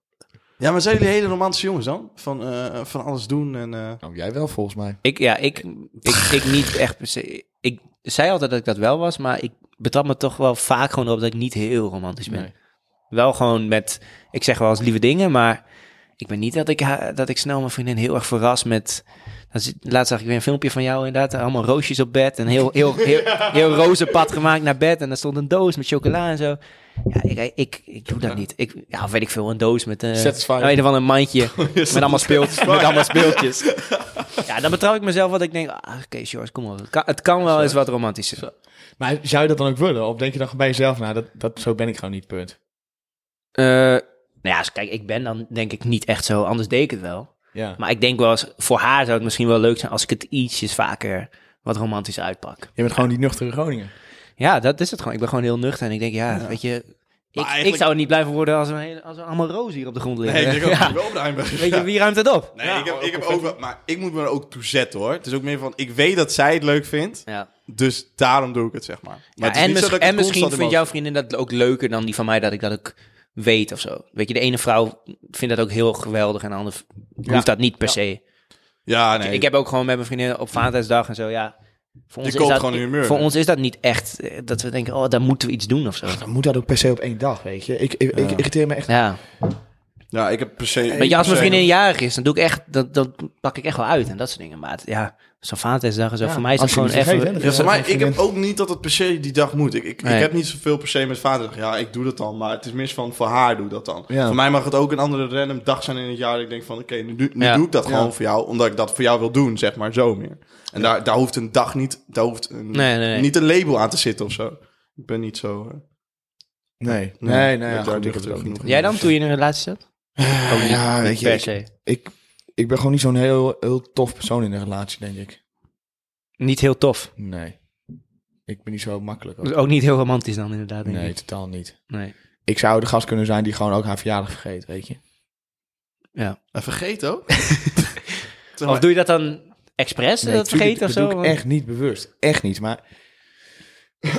Speaker 2: Ja, maar zijn jullie hele romantische jongens dan? Van, eh, van alles doen en... eh,
Speaker 1: Nou, jij wel volgens mij.
Speaker 3: Ik, ja, ik, ik, ik niet echt per se. Ik zei altijd dat ik dat wel was, maar ik betrap me toch wel vaak gewoon op dat ik niet heel romantisch ben.
Speaker 1: Nee.
Speaker 3: Wel gewoon met, ik zeg wel eens lieve dingen, maar ik ben niet dat ik, ha- dat ik snel mijn vriendin heel erg verras met... dan zit- Laatst zag ik weer een filmpje van jou inderdaad, allemaal roosjes op bed. En heel, heel, heel, heel, roze pad gemaakt naar bed. En daar stond een doos met chocola en zo. Ja, ik, ik, ik doe dat niet. Ik, ja, of weet ik veel, een doos met... eh
Speaker 1: Satisfying.
Speaker 3: nou, in ieder geval een mandje met allemaal speeltjes. Met allemaal speeltjes. Ja, dan betrouw ik mezelf wat ik denk. ah, Oké, George, kom op. Het kan, het kan wel eens wat romantischer.
Speaker 1: Maar zou je dat dan ook willen? Of denk je dan bij jezelf, nou, dat, dat, zo ben ik gewoon niet, punt.
Speaker 3: Eh, nou ja, als- kijk, ik ben dan denk ik niet echt zo. Anders deed ik het wel.
Speaker 1: Ja.
Speaker 3: Maar ik denk wel eens, voor haar zou het misschien wel leuk zijn als ik het ietsjes vaker wat romantisch uitpak.
Speaker 1: Je bent gewoon die nuchtere Groningen.
Speaker 3: Ja, dat is het gewoon. Ik ben gewoon heel nuchter en ik denk, ja, weet je... Ik,
Speaker 2: eigenlijk-
Speaker 3: ik zou het niet blijven worden als we, een hele- als we allemaal rozen hier op de grond liggen.
Speaker 2: Nee, ik denk ook
Speaker 3: Ja.
Speaker 2: dat ik wel opruimen.
Speaker 3: Weet je, wie ruimt het op?
Speaker 2: Nee, ik heb, ik heb ook wel... Maar ik moet me er ook toe zetten, hoor. Het is ook meer van... Ik weet dat zij het leuk vindt.
Speaker 3: Ja.
Speaker 2: Dus daarom doe ik het, zeg maar. maar
Speaker 3: Ja,
Speaker 2: het is
Speaker 3: en
Speaker 2: niet zo
Speaker 3: mis-
Speaker 2: dat ik het constant
Speaker 3: en misschien
Speaker 2: in
Speaker 3: vindt
Speaker 2: mijn
Speaker 3: jouw vriendin dat ook leuker dan die van mij, dat ik dat ook weet of zo. Weet je, de ene vrouw vindt dat ook heel geweldig en de andere hoeft dat niet per se.
Speaker 2: hoofd- Ja, nee.
Speaker 3: Ik heb ook gewoon met mijn vriendin op Valentijnsdag en zo, ja. Voor
Speaker 2: Je
Speaker 3: ons, is
Speaker 2: koopt
Speaker 3: dat,
Speaker 2: gewoon een humeur.
Speaker 3: voor ons is dat niet echt eh, dat we denken, oh, daar moeten we iets doen of zo.
Speaker 1: Dan moet dat ook per se op één dag, weet je. Ik, ik, ik irriteer me echt.
Speaker 3: Ja,
Speaker 2: Ja, ik heb per se...
Speaker 3: Weet je,
Speaker 2: per
Speaker 3: als mijn
Speaker 2: se-
Speaker 3: vriendin jarig is, dan doe ik echt, dat, dat pak ik echt wel uit en dat soort dingen. Maar het- ja, zo'n vadertijdsdag en zo,
Speaker 1: Ja,
Speaker 3: voor mij is dat
Speaker 1: als je
Speaker 3: gewoon
Speaker 1: niet
Speaker 3: echt...
Speaker 1: vergeet, hè,
Speaker 2: Ja, voor mij, ik
Speaker 1: vriendin.
Speaker 2: heb ook niet dat het per se die dag moet. Ik, ik,
Speaker 3: Nee.
Speaker 2: ik heb niet zoveel per se met vaderdag. Ja, ik doe dat dan, maar het is mis van voor haar doe dat dan.
Speaker 1: Ja.
Speaker 2: Voor mij mag het ook een andere random dag zijn in het jaar. dat Ik denk van, oké, nu, doe- nu
Speaker 3: Ja.
Speaker 2: doe ik dat
Speaker 1: Ja.
Speaker 2: gewoon voor jou, omdat ik dat voor jou wil doen, zeg maar, zo meer. En daar, daar hoeft een dag niet, daar hoeft een,
Speaker 3: Nee, nee, nee.
Speaker 2: niet een label aan te zitten of zo. Ik ben niet zo... eh,
Speaker 1: Nee, nee,
Speaker 2: Nee,
Speaker 1: nee.
Speaker 2: daar
Speaker 1: ja, goed,
Speaker 2: ligt
Speaker 1: ik heb
Speaker 2: het
Speaker 1: het
Speaker 2: ook
Speaker 1: ook
Speaker 2: niet.
Speaker 1: niet.
Speaker 3: Jij dan, toen je in een relatie zat? Ook niet,
Speaker 1: Eh, ja,
Speaker 3: niet
Speaker 1: weet je,
Speaker 3: per
Speaker 1: ik-
Speaker 3: se.
Speaker 1: Ik, ik ben gewoon niet zo'n heel, heel tof persoon in een relatie, denk ik.
Speaker 3: Niet heel tof.
Speaker 1: Nee. Ik ben niet zo makkelijk. ook.
Speaker 3: Dus ook niet heel romantisch dan, inderdaad, denk
Speaker 1: Nee,
Speaker 3: ik.
Speaker 1: totaal niet.
Speaker 3: Nee.
Speaker 1: Ik zou de gast kunnen zijn die gewoon ook haar verjaardag vergeet, weet je.
Speaker 2: En vergeet ook.
Speaker 3: Of doe je dat dan expres,
Speaker 1: Nee,
Speaker 3: dat
Speaker 1: tuurlijk,
Speaker 3: vergeten of zo?
Speaker 1: dat doe ik
Speaker 3: Want-
Speaker 1: echt niet bewust. Echt niet, maar...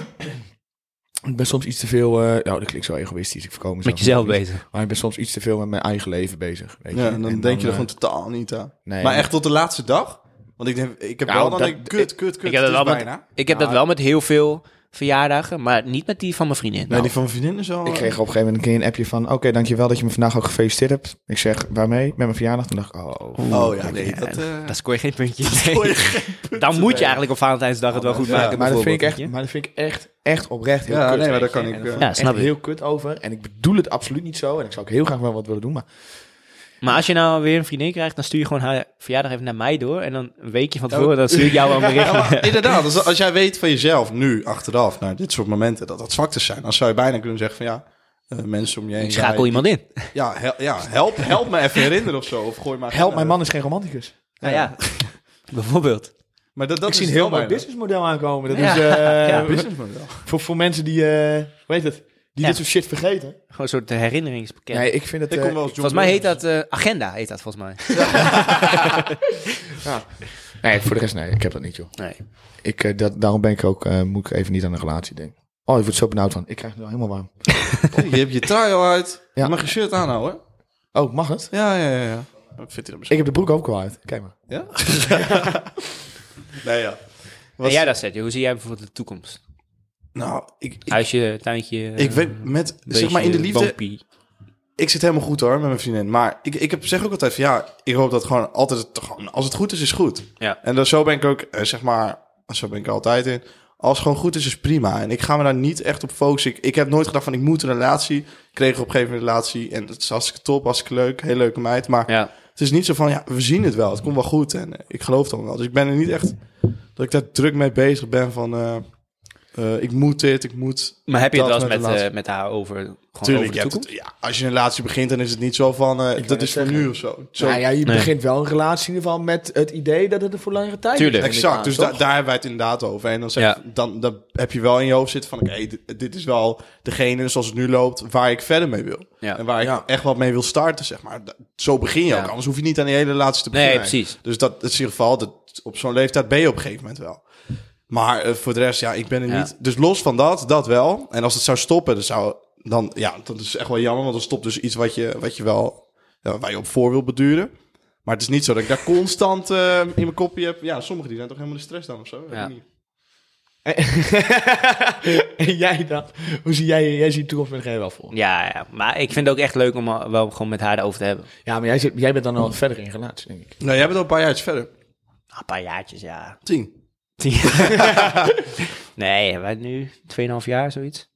Speaker 1: ik ben soms iets te veel... eh, ja, dat klinkt zo egoïstisch. Ik voorkom
Speaker 3: Met jezelf bezig.
Speaker 1: Maar ik ben soms iets te veel met mijn eigen leven bezig, weet je.
Speaker 2: Ja, en dan denk je er
Speaker 1: eh,
Speaker 2: gewoon totaal niet aan.
Speaker 1: nee,
Speaker 2: maar echt tot de laatste dag? Want ik, denk, ik heb
Speaker 1: Nou,
Speaker 2: wel dan
Speaker 1: dat-
Speaker 2: een kut, kut, kut.
Speaker 3: ik heb dat
Speaker 2: het is
Speaker 3: wel met-
Speaker 2: bijna.
Speaker 3: Ik heb dat
Speaker 1: Ja.
Speaker 3: wel met heel veel verjaardagen, maar niet met die van mijn vriendin.
Speaker 2: Nee, die van mijn vriendin is eh, wel...
Speaker 1: Nou. Ik kreeg op een gegeven moment een keer een appje van... Oké, dankjewel dat je me vandaag ook gefeliciteerd hebt. Ik zeg, waarmee? Met mijn verjaardag. Toen dacht ik, oh...
Speaker 2: Oh ja, nee,
Speaker 3: Nou, Ja,
Speaker 2: dat... eh,
Speaker 3: Daar scoor je geen puntjes.
Speaker 2: scoor je
Speaker 3: Nee. Dan moet je eigenlijk op Valentijnsdag het wel goed
Speaker 2: Ja,
Speaker 3: maken.
Speaker 1: maar, dat vind ik
Speaker 3: bijvoorbeeld,
Speaker 1: echt,
Speaker 3: weet je.
Speaker 1: maar dat vind ik echt, echt oprecht heel
Speaker 2: Ja,
Speaker 1: kut.
Speaker 2: nee, maar
Speaker 1: weet
Speaker 2: dat kan
Speaker 1: je.
Speaker 2: ik,
Speaker 1: En dat
Speaker 2: eh,
Speaker 1: vond
Speaker 3: Ja, snap
Speaker 1: echt
Speaker 3: ik.
Speaker 1: heel kut over. En ik bedoel het absoluut niet zo. En ik zou ook heel graag wel wat willen doen. Maar
Speaker 3: Maar als je nou weer een vriendin krijgt, dan stuur je gewoon haar verjaardag even naar mij door. En dan een weekje van tevoren, dan stuur ik jou een bericht.
Speaker 2: Ja, maar inderdaad, als, als jij weet van jezelf nu, achteraf, naar dit soort momenten, dat dat zwaktes zijn, dan zou je bijna kunnen zeggen van ja, eh, mensen om je heen.
Speaker 3: Ik schakel
Speaker 2: ja,
Speaker 3: iemand in.
Speaker 2: ja, hel- ja help, help me even herinneren of zo. Of gooi maar
Speaker 1: help, mijn man is geen romanticus.
Speaker 3: Nou ja, bijvoorbeeld.
Speaker 2: Maar dat, dat
Speaker 1: ik zie
Speaker 2: is
Speaker 1: een heel
Speaker 2: het wel
Speaker 1: mooi
Speaker 2: bijna.
Speaker 1: businessmodel aankomen. Dat
Speaker 3: Ja.
Speaker 1: is eh,
Speaker 3: Ja.
Speaker 2: businessmodel.
Speaker 1: voor, voor mensen die, eh hoe heet het, die
Speaker 3: Ja.
Speaker 1: dit soort shit vergeten.
Speaker 3: Gewoon een soort herinneringspakket.
Speaker 1: Nee, ik vind het...
Speaker 2: Ik
Speaker 1: eh,
Speaker 2: kom wel eens John
Speaker 3: volgens mij heet
Speaker 2: Williams.
Speaker 3: dat eh, agenda, heet dat volgens mij.
Speaker 1: nee, voor de rest nee, ik heb dat niet joh.
Speaker 3: Nee.
Speaker 1: Ik, eh, dat, daarom ben ik ook, eh, moet ik even niet aan een relatie denken. Oh, je wordt zo benauwd van. Ik krijg het wel helemaal warm.
Speaker 2: Je hebt je taai al uit.
Speaker 1: Ja.
Speaker 2: Je mag je shirt aanhouden.
Speaker 1: Oh, mag het?
Speaker 2: Ja, ja, ja. ja. Wat vindt hij dan
Speaker 1: Ik heb de broek ook al uit. Kijk maar.
Speaker 2: misschien? Nee, ja.
Speaker 3: En jij dat zet, hoe zie jij bijvoorbeeld de toekomst?
Speaker 2: Nou, ik, ik,
Speaker 3: Huisje, tuintje, eh,
Speaker 2: ik weet met, zeg maar in de liefde, ik zit helemaal goed hoor met mijn vriendin. Maar ik, ik heb, zeg ook altijd van ja, ik hoop dat gewoon altijd, het, gewoon, als het goed is, is goed.
Speaker 3: Ja.
Speaker 2: En dan, zo ben ik ook, eh, zeg maar, zo ben ik er altijd in. Als het gewoon goed is, is prima. En ik ga me daar niet echt op focussen. Ik, ik heb nooit gedacht van ik moet een relatie. Ik kreeg op een gegeven moment een relatie. En het is hartstikke top, hartstikke leuk. Heel leuke meid. Maar
Speaker 3: Ja.
Speaker 2: het is niet zo van ja, we zien het wel. Het komt wel goed. En eh, ik geloof dan wel. Dus ik ben er niet echt dat ik daar druk mee bezig ben van eh, eh, ik moet dit, ik moet
Speaker 3: Maar heb je het
Speaker 2: Dat
Speaker 3: wel eens
Speaker 2: met
Speaker 3: met,
Speaker 2: de laatste.
Speaker 3: eh, met haar over, gewoon
Speaker 2: Tuurlijk,
Speaker 3: Mm. over de
Speaker 2: je hebt
Speaker 3: toekomst?
Speaker 2: het- ja, als je een relatie begint, dan is het niet zo van... eh, dat
Speaker 1: net
Speaker 2: is voor
Speaker 1: zeggen.
Speaker 2: nu of zo. zo
Speaker 1: Nou ja, je
Speaker 3: Nee.
Speaker 1: begint wel een relatie in ieder geval met het idee dat het er voor langere tijd
Speaker 3: Tuurlijk.
Speaker 1: is.
Speaker 2: exact, dus da-
Speaker 1: daar
Speaker 2: daar hebben wij het inderdaad over. En dan, zeg,
Speaker 3: Ja.
Speaker 2: dan, dan heb je wel in je hoofd zitten van... oké, dit, dit is wel degene zoals het nu loopt waar ik verder mee wil.
Speaker 3: Ja.
Speaker 2: En waar ik
Speaker 1: Ja.
Speaker 2: echt wat mee wil starten, zeg maar. Da- Zo begin je
Speaker 3: Ja.
Speaker 2: ook, anders hoef je niet aan die hele relatie te beginnen.
Speaker 3: Nee, precies.
Speaker 2: Dus dat, dat is in ieder geval, dat, op zo'n leeftijd ben je op een gegeven moment wel. Maar eh, voor de rest, ja, ik ben er
Speaker 3: Ja.
Speaker 2: niet. Dus los van dat, dat wel. En als het zou stoppen, dan zou... Dan, ja, dat is echt wel jammer, want dan stopt dus iets wat je, wat je wel... Ja, waar je op voor wil beduren. Maar het is niet zo dat ik daar constant eh, in mijn kopje heb... Ja, sommigen die zijn toch helemaal de stress dan of zo?
Speaker 3: Ja.
Speaker 2: Ja. Niet.
Speaker 1: en jij dan? Hoe zie jij, jij ziet de toekomst met geen wel voor?
Speaker 3: Ja, ja, maar ik vind het ook echt leuk om al- wel gewoon met haar over te hebben.
Speaker 1: Ja, maar jij, zit, jij bent dan al verder in relatie, denk ik.
Speaker 2: Nou, jij bent al een paar jaar iets verder.
Speaker 3: Ah, Een paar jaartjes, ja.
Speaker 2: Tien.
Speaker 3: nee, wij nu 2,5 jaar, zoiets.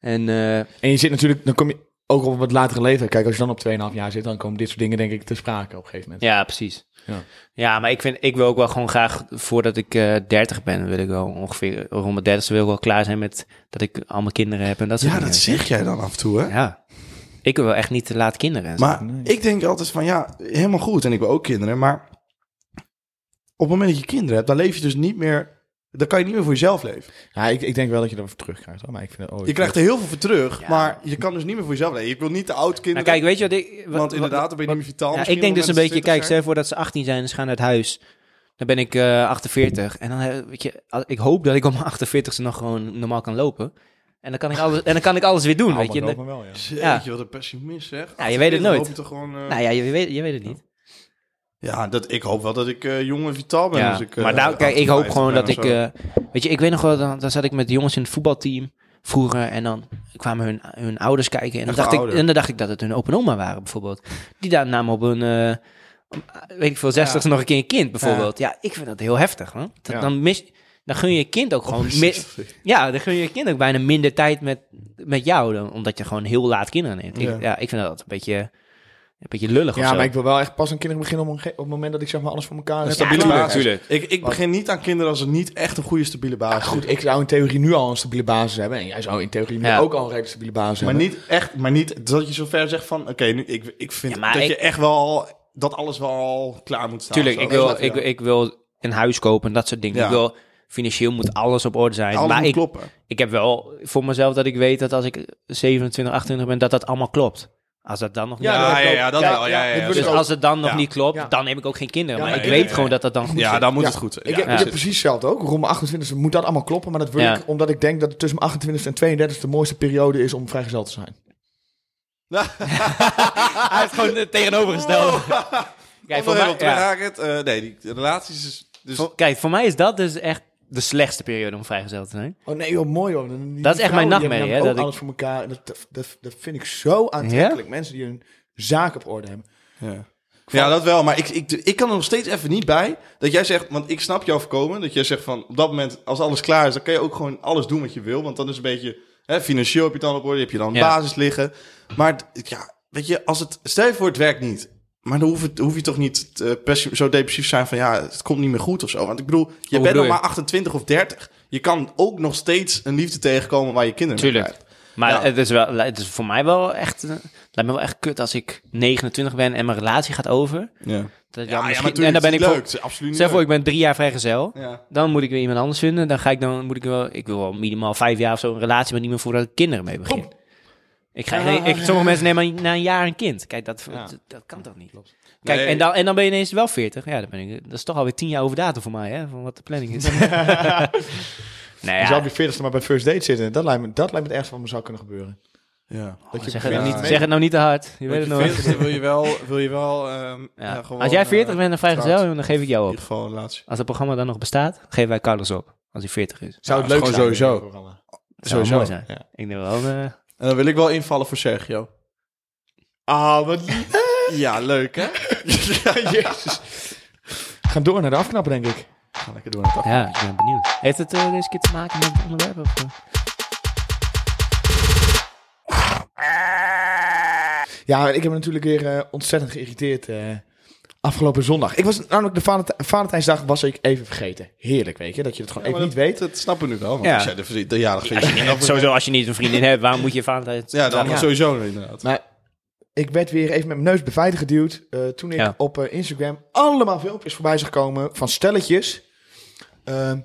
Speaker 3: En eh,
Speaker 1: En je zit natuurlijk, dan kom je ook op een wat latere leeftijd. Kijk, als je dan op 2,5 jaar zit, dan komen dit soort dingen denk ik te sprake op een gegeven moment.
Speaker 3: ja, precies.
Speaker 1: Ja.
Speaker 3: Ja, maar ik, vind, ik wil ook wel gewoon graag, voordat ik eh 30 ben, wil ik wel ongeveer rond mijn 30 wil ik wel klaar zijn met dat ik allemaal kinderen heb en dat soort
Speaker 2: Ja,
Speaker 3: dingen.
Speaker 2: dat zeg jij dan af en toe, hè?
Speaker 3: Ja. Ik wil wel echt niet te laat kinderen. en zo.
Speaker 2: Maar ik denk altijd van ja, helemaal goed. En ik wil ook kinderen. Maar op het moment dat je kinderen hebt, dan leef je dus niet meer. Dan kan je niet meer voor jezelf leven.
Speaker 1: Ja, ik, ik denk wel dat je daarvoor terugkrijgt. Hoor. Maar ik vind, het- oh,
Speaker 2: Je krijgt er heel veel voor terug,
Speaker 3: Ja.
Speaker 2: maar je kan dus niet meer voor jezelf leven. Ik wil niet te oud
Speaker 3: Nou,
Speaker 2: kinderen.
Speaker 3: kijk, weet je wat ik... wat-
Speaker 2: want
Speaker 3: wat-
Speaker 2: inderdaad, dan ben je niet meer vitaal.
Speaker 3: Ja,
Speaker 2: misschien
Speaker 3: ik denk
Speaker 2: op het
Speaker 3: dus een
Speaker 2: moment
Speaker 3: beetje,
Speaker 2: dat ze
Speaker 3: kijk, stel je voor dat ze 18 zijn en ze gaan uit huis. Dan ben ik eh 48. En dan, eh, weet je, al- ik hoop dat ik om mijn 48ste nog gewoon normaal kan lopen. En dan kan ik alles, en dan kan ik alles weer doen, weet je.
Speaker 1: Allemaal wel, ja.
Speaker 2: 20
Speaker 3: ja.
Speaker 2: zijn. Jeetje, wat een pessimist zeg.
Speaker 3: Ja, je weet het
Speaker 2: Dan
Speaker 3: nooit.
Speaker 2: hoop je toch gewoon, eh,
Speaker 3: Nou ja, je weet, je weet het niet.
Speaker 2: Ja, dat, ik hoop wel dat ik eh, jong en vitaal ben.
Speaker 3: Ja.
Speaker 2: als ik, eh,
Speaker 3: maar daar, kijk, ik
Speaker 2: 58
Speaker 3: hoop gewoon
Speaker 2: ben of
Speaker 3: dat ik...
Speaker 2: zo.
Speaker 3: eh, weet je, ik weet nog wel, dan, dan zat ik met de jongens in het voetbalteam. vroeger. En dan kwamen hun, hun ouders kijken. En dan,
Speaker 2: Echt
Speaker 3: dacht ik,
Speaker 2: ouder.
Speaker 3: en dan dacht ik dat het hun open oma waren, bijvoorbeeld. Die daar namen op hun, eh, om, eh, weet ik veel, zestigste nog een keer een kind, bijvoorbeeld. Ja, ik vind dat heel heftig. Hoor. Dat-
Speaker 1: Ja.
Speaker 3: Dan, mis, dan gun je je kind
Speaker 2: Oh,
Speaker 3: ook gewoon... mi- ja, dan gun je je kind ook bijna minder tijd met, met jou. Dan, omdat je gewoon heel laat kinderen neemt. Ik- Ja,
Speaker 2: Ja.
Speaker 3: ik, vind dat een beetje, een beetje lullig of
Speaker 1: Ja,
Speaker 3: zo.
Speaker 1: maar ik wil wel echt pas aan kinderen beginnen op, een ge- op het moment dat ik zeg maar alles voor elkaar heb.
Speaker 2: stabiele
Speaker 1: Ja,
Speaker 2: basis.
Speaker 5: natuurlijk.
Speaker 2: Ik, ik begin niet aan kinderen als er niet echt een goede stabiele
Speaker 1: Maar
Speaker 2: basis is.
Speaker 1: goed, ik zou in theorie nu al een stabiele basis hebben. En jij zou in theorie nu
Speaker 3: Ja.
Speaker 1: ook al een redelijk stabiele basis
Speaker 2: Maar
Speaker 1: hebben.
Speaker 2: niet echt, maar niet dat je zover zegt van, oké, nu ik, ik vind
Speaker 3: Ja, maar
Speaker 2: dat
Speaker 3: ik-
Speaker 2: je echt wel dat alles wel al klaar moet staan.
Speaker 3: Tuurlijk,
Speaker 2: Zo.
Speaker 3: ik wil,
Speaker 2: Dat
Speaker 3: ik,
Speaker 2: snap je.
Speaker 3: ik wil een huis kopen en dat soort dingen.
Speaker 2: Ja.
Speaker 3: Ik wil, financieel moet alles op orde zijn.
Speaker 2: alles
Speaker 3: maar
Speaker 2: moet
Speaker 3: ik,
Speaker 2: kloppen.
Speaker 3: ik heb wel voor mezelf dat ik weet dat als ik 27, 28 ben, dat dat allemaal klopt. Als dat dan nog niet
Speaker 2: Ja,
Speaker 1: dat
Speaker 2: ja,
Speaker 1: heb ik
Speaker 2: ja,
Speaker 1: ook.
Speaker 2: ja, dat
Speaker 1: Ja,
Speaker 2: wel. Ja,
Speaker 1: ja,
Speaker 2: ja,
Speaker 1: dit
Speaker 2: ja,
Speaker 1: wil
Speaker 3: Dus
Speaker 1: ik
Speaker 2: zo.
Speaker 1: ook.
Speaker 3: als het dan nog
Speaker 2: Ja.
Speaker 3: niet klopt,
Speaker 1: Ja.
Speaker 3: dan heb ik ook geen kinderen.
Speaker 1: Ja,
Speaker 3: maar
Speaker 1: maar
Speaker 3: ik
Speaker 1: ik-
Speaker 3: weet
Speaker 2: ja,
Speaker 3: gewoon
Speaker 2: ja.
Speaker 3: dat dat dan goed
Speaker 2: ja,
Speaker 3: zit.
Speaker 2: dan moet
Speaker 1: Ja.
Speaker 2: het goed.
Speaker 1: Ik,
Speaker 2: Ja,
Speaker 1: heb, ik heb
Speaker 2: precies.
Speaker 1: precies hetzelfde ook. Rond mijn 28e moet dat allemaal kloppen. Maar dat wil
Speaker 3: Ja.
Speaker 1: ik omdat ik denk dat het tussen mijn 28 en 32 de mooiste periode is om vrijgezel te zijn.
Speaker 3: Hij heeft gewoon het tegenovergestelde.
Speaker 2: Oh.
Speaker 3: Kijk, voor mij,
Speaker 2: Onderwerp
Speaker 3: ja.
Speaker 2: Racket, eh, nee, die de relaties is dus
Speaker 3: Voor- kijk, voor mij is dat dus echt de slechtste periode om vrijgezel te zijn.
Speaker 1: Oh nee, joh, mooi hoor. Die- die
Speaker 3: Dat is echt mijn
Speaker 1: vrouwen, die
Speaker 3: nachtmerrie,
Speaker 1: hebben
Speaker 3: hè, dat
Speaker 1: namelijk ook
Speaker 3: ik-
Speaker 1: alles voor elkaar. En Dat, dat, dat vind ik zo aantrekkelijk. Mensen die hun zaak op orde hebben.
Speaker 2: Ja. Ja, dat wel. Maar ik, ik, ik kan er nog steeds even niet bij dat jij zegt... Want ik snap jou voorkomen. Dat jij zegt van op dat moment, als alles klaar is... dan kan je ook gewoon alles doen wat je wil. Want dan is een beetje... Hè, financieel heb je het dan op orde. Heb je dan een
Speaker 3: Ja.
Speaker 2: basis liggen. Maar het- ja, weet je, als het... Stel je voor het werkt niet. Maar dan hoef, het, hoef je toch niet eh, pessi- zo depressief te zijn van... Ja, het komt niet meer goed of zo. Want ik bedoel, je bent
Speaker 3: bedoel
Speaker 2: nog
Speaker 3: je?
Speaker 2: maar 28 of 30. Je kan ook nog steeds een liefde tegenkomen waar je kinderen mee
Speaker 3: Tuurlijk.
Speaker 2: krijgt.
Speaker 3: Maar
Speaker 2: Ja.
Speaker 3: het, is wel, het is voor mij wel echt... eh, lijkt me wel echt kut als ik 29 ben en mijn relatie gaat over.
Speaker 2: Ja,
Speaker 3: Dat ik
Speaker 2: ja,
Speaker 3: dan
Speaker 2: maar
Speaker 3: misschien-
Speaker 2: natuurlijk,
Speaker 3: en dan
Speaker 2: het
Speaker 3: ben ik
Speaker 2: is
Speaker 3: voor-
Speaker 2: leuk. Het is absoluut niet
Speaker 3: Stel voor,
Speaker 2: leuk.
Speaker 3: ik ben drie jaar vrijgezel.
Speaker 2: Ja.
Speaker 3: Dan moet ik weer iemand anders vinden. Dan ga ik dan moet ik wel. Ik wil wel minimaal vijf jaar of zo een relatie, maar niet meer voordat ik kinderen mee begin. Ik ga, geen- ik, sommige mensen nemen na een jaar een kind. Kijk, dat, dat, dat kan toch niet. Kijk,
Speaker 2: Nee.
Speaker 3: en, dan, en dan ben je ineens wel 40. Ja, dan ben ik, dat is toch alweer tien jaar over datum voor mij, hè? Van wat de planning is. nou
Speaker 1: Je zou op
Speaker 3: ja,
Speaker 1: je 40ste maar bij first date zitten. Dat lijkt me, dat lijkt me het ergste wat me zou kunnen gebeuren.
Speaker 2: Ja.
Speaker 1: Dat
Speaker 3: zeg het, nou
Speaker 1: ja.
Speaker 3: niet, zeg het nou niet te hard. Je weet
Speaker 2: Weet
Speaker 3: het
Speaker 2: je,
Speaker 3: nooit.
Speaker 2: 40ste wil je wel, wil je wel ehm,
Speaker 3: Ja.
Speaker 2: ja, gewoon,
Speaker 3: Als jij 40
Speaker 2: eh,
Speaker 3: bent en vrijgezel,
Speaker 2: getrouwd.
Speaker 3: jongen, dan geef ik jou
Speaker 2: in
Speaker 3: op.
Speaker 2: ieder geval een relatie.
Speaker 3: Als het programma dan nog bestaat, geven wij Carlos op. Als hij 40 is.
Speaker 1: Zou het
Speaker 2: Ja,
Speaker 1: leuk
Speaker 2: gewoon
Speaker 1: zijn.
Speaker 2: sowieso.
Speaker 1: dit programma.
Speaker 3: Dat zou wel
Speaker 1: Sowieso,
Speaker 3: mooi zijn.
Speaker 1: ja.
Speaker 3: Ik denk wel... eh,
Speaker 2: En dan wil ik wel invallen voor Sergio.
Speaker 1: Ah, wat lief.
Speaker 2: Ja, leuk hè?
Speaker 1: Jezus. We gaan door naar de afknap, denk ik.
Speaker 2: Ga lekker door naar het af-
Speaker 3: Ja, ik ben benieuwd. Heeft het eh, deze keer te maken met het onderwerp? Of, eh?
Speaker 1: Ja, ik heb me natuurlijk weer eh, ontzettend geïrriteerd eh, afgelopen zondag. Ik was namelijk de Valent- Valentijnsdag was ik even vergeten. Heerlijk, weet je, dat je het gewoon
Speaker 2: maar
Speaker 1: even niet weet.
Speaker 2: Dat snappen we nu wel. Want
Speaker 3: Ja.
Speaker 2: als jij de, vri- de jarig
Speaker 3: Als je
Speaker 2: vindt.
Speaker 3: niet- sowieso, als je niet een vriendin hebt, waarom moet je Valentijns...
Speaker 2: Ja, dan
Speaker 1: Ja.
Speaker 2: sowieso inderdaad.
Speaker 1: Maar ik werd weer even met mijn neus beveiligd geduwd eh, toen ik
Speaker 3: Ja.
Speaker 1: op eh, Instagram allemaal filmpjes voorbij zag komen van stelletjes. ehm,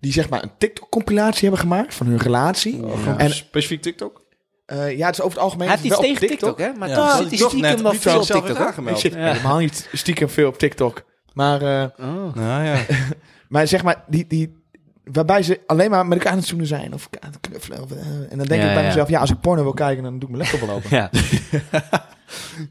Speaker 1: die zeg maar een TikTok-compilatie hebben gemaakt van hun relatie.
Speaker 2: Ja.
Speaker 1: En
Speaker 2: Oh, specifiek TikTok?
Speaker 1: eh, ja, het is over het algemeen
Speaker 3: Hij heeft iets
Speaker 1: wel op
Speaker 3: tegen TikTok, hè? Maar
Speaker 2: Ja.
Speaker 3: toch
Speaker 2: Ja.
Speaker 3: zit hij
Speaker 2: Toch
Speaker 3: stiekem
Speaker 2: net,
Speaker 3: wel
Speaker 2: niet
Speaker 3: veel op
Speaker 2: zelf
Speaker 3: TikTok,
Speaker 2: heeft
Speaker 3: hoor.
Speaker 1: Ik
Speaker 2: aangemeld.
Speaker 1: zit helemaal niet stiekem veel op TikTok. Maar eh,
Speaker 3: Oh.
Speaker 2: Nou ja.
Speaker 1: Maar zeg maar, die, die, waarbij ze alleen maar met elkaar aan het zoenen zijn. Of elkaar aan het knuffelen. Of, eh, en dan denk
Speaker 3: Ja,
Speaker 1: ik bij
Speaker 3: ja.
Speaker 1: mezelf, ja, als ik porno wil kijken, dan doe ik mijn laptop wel open.
Speaker 3: Ja,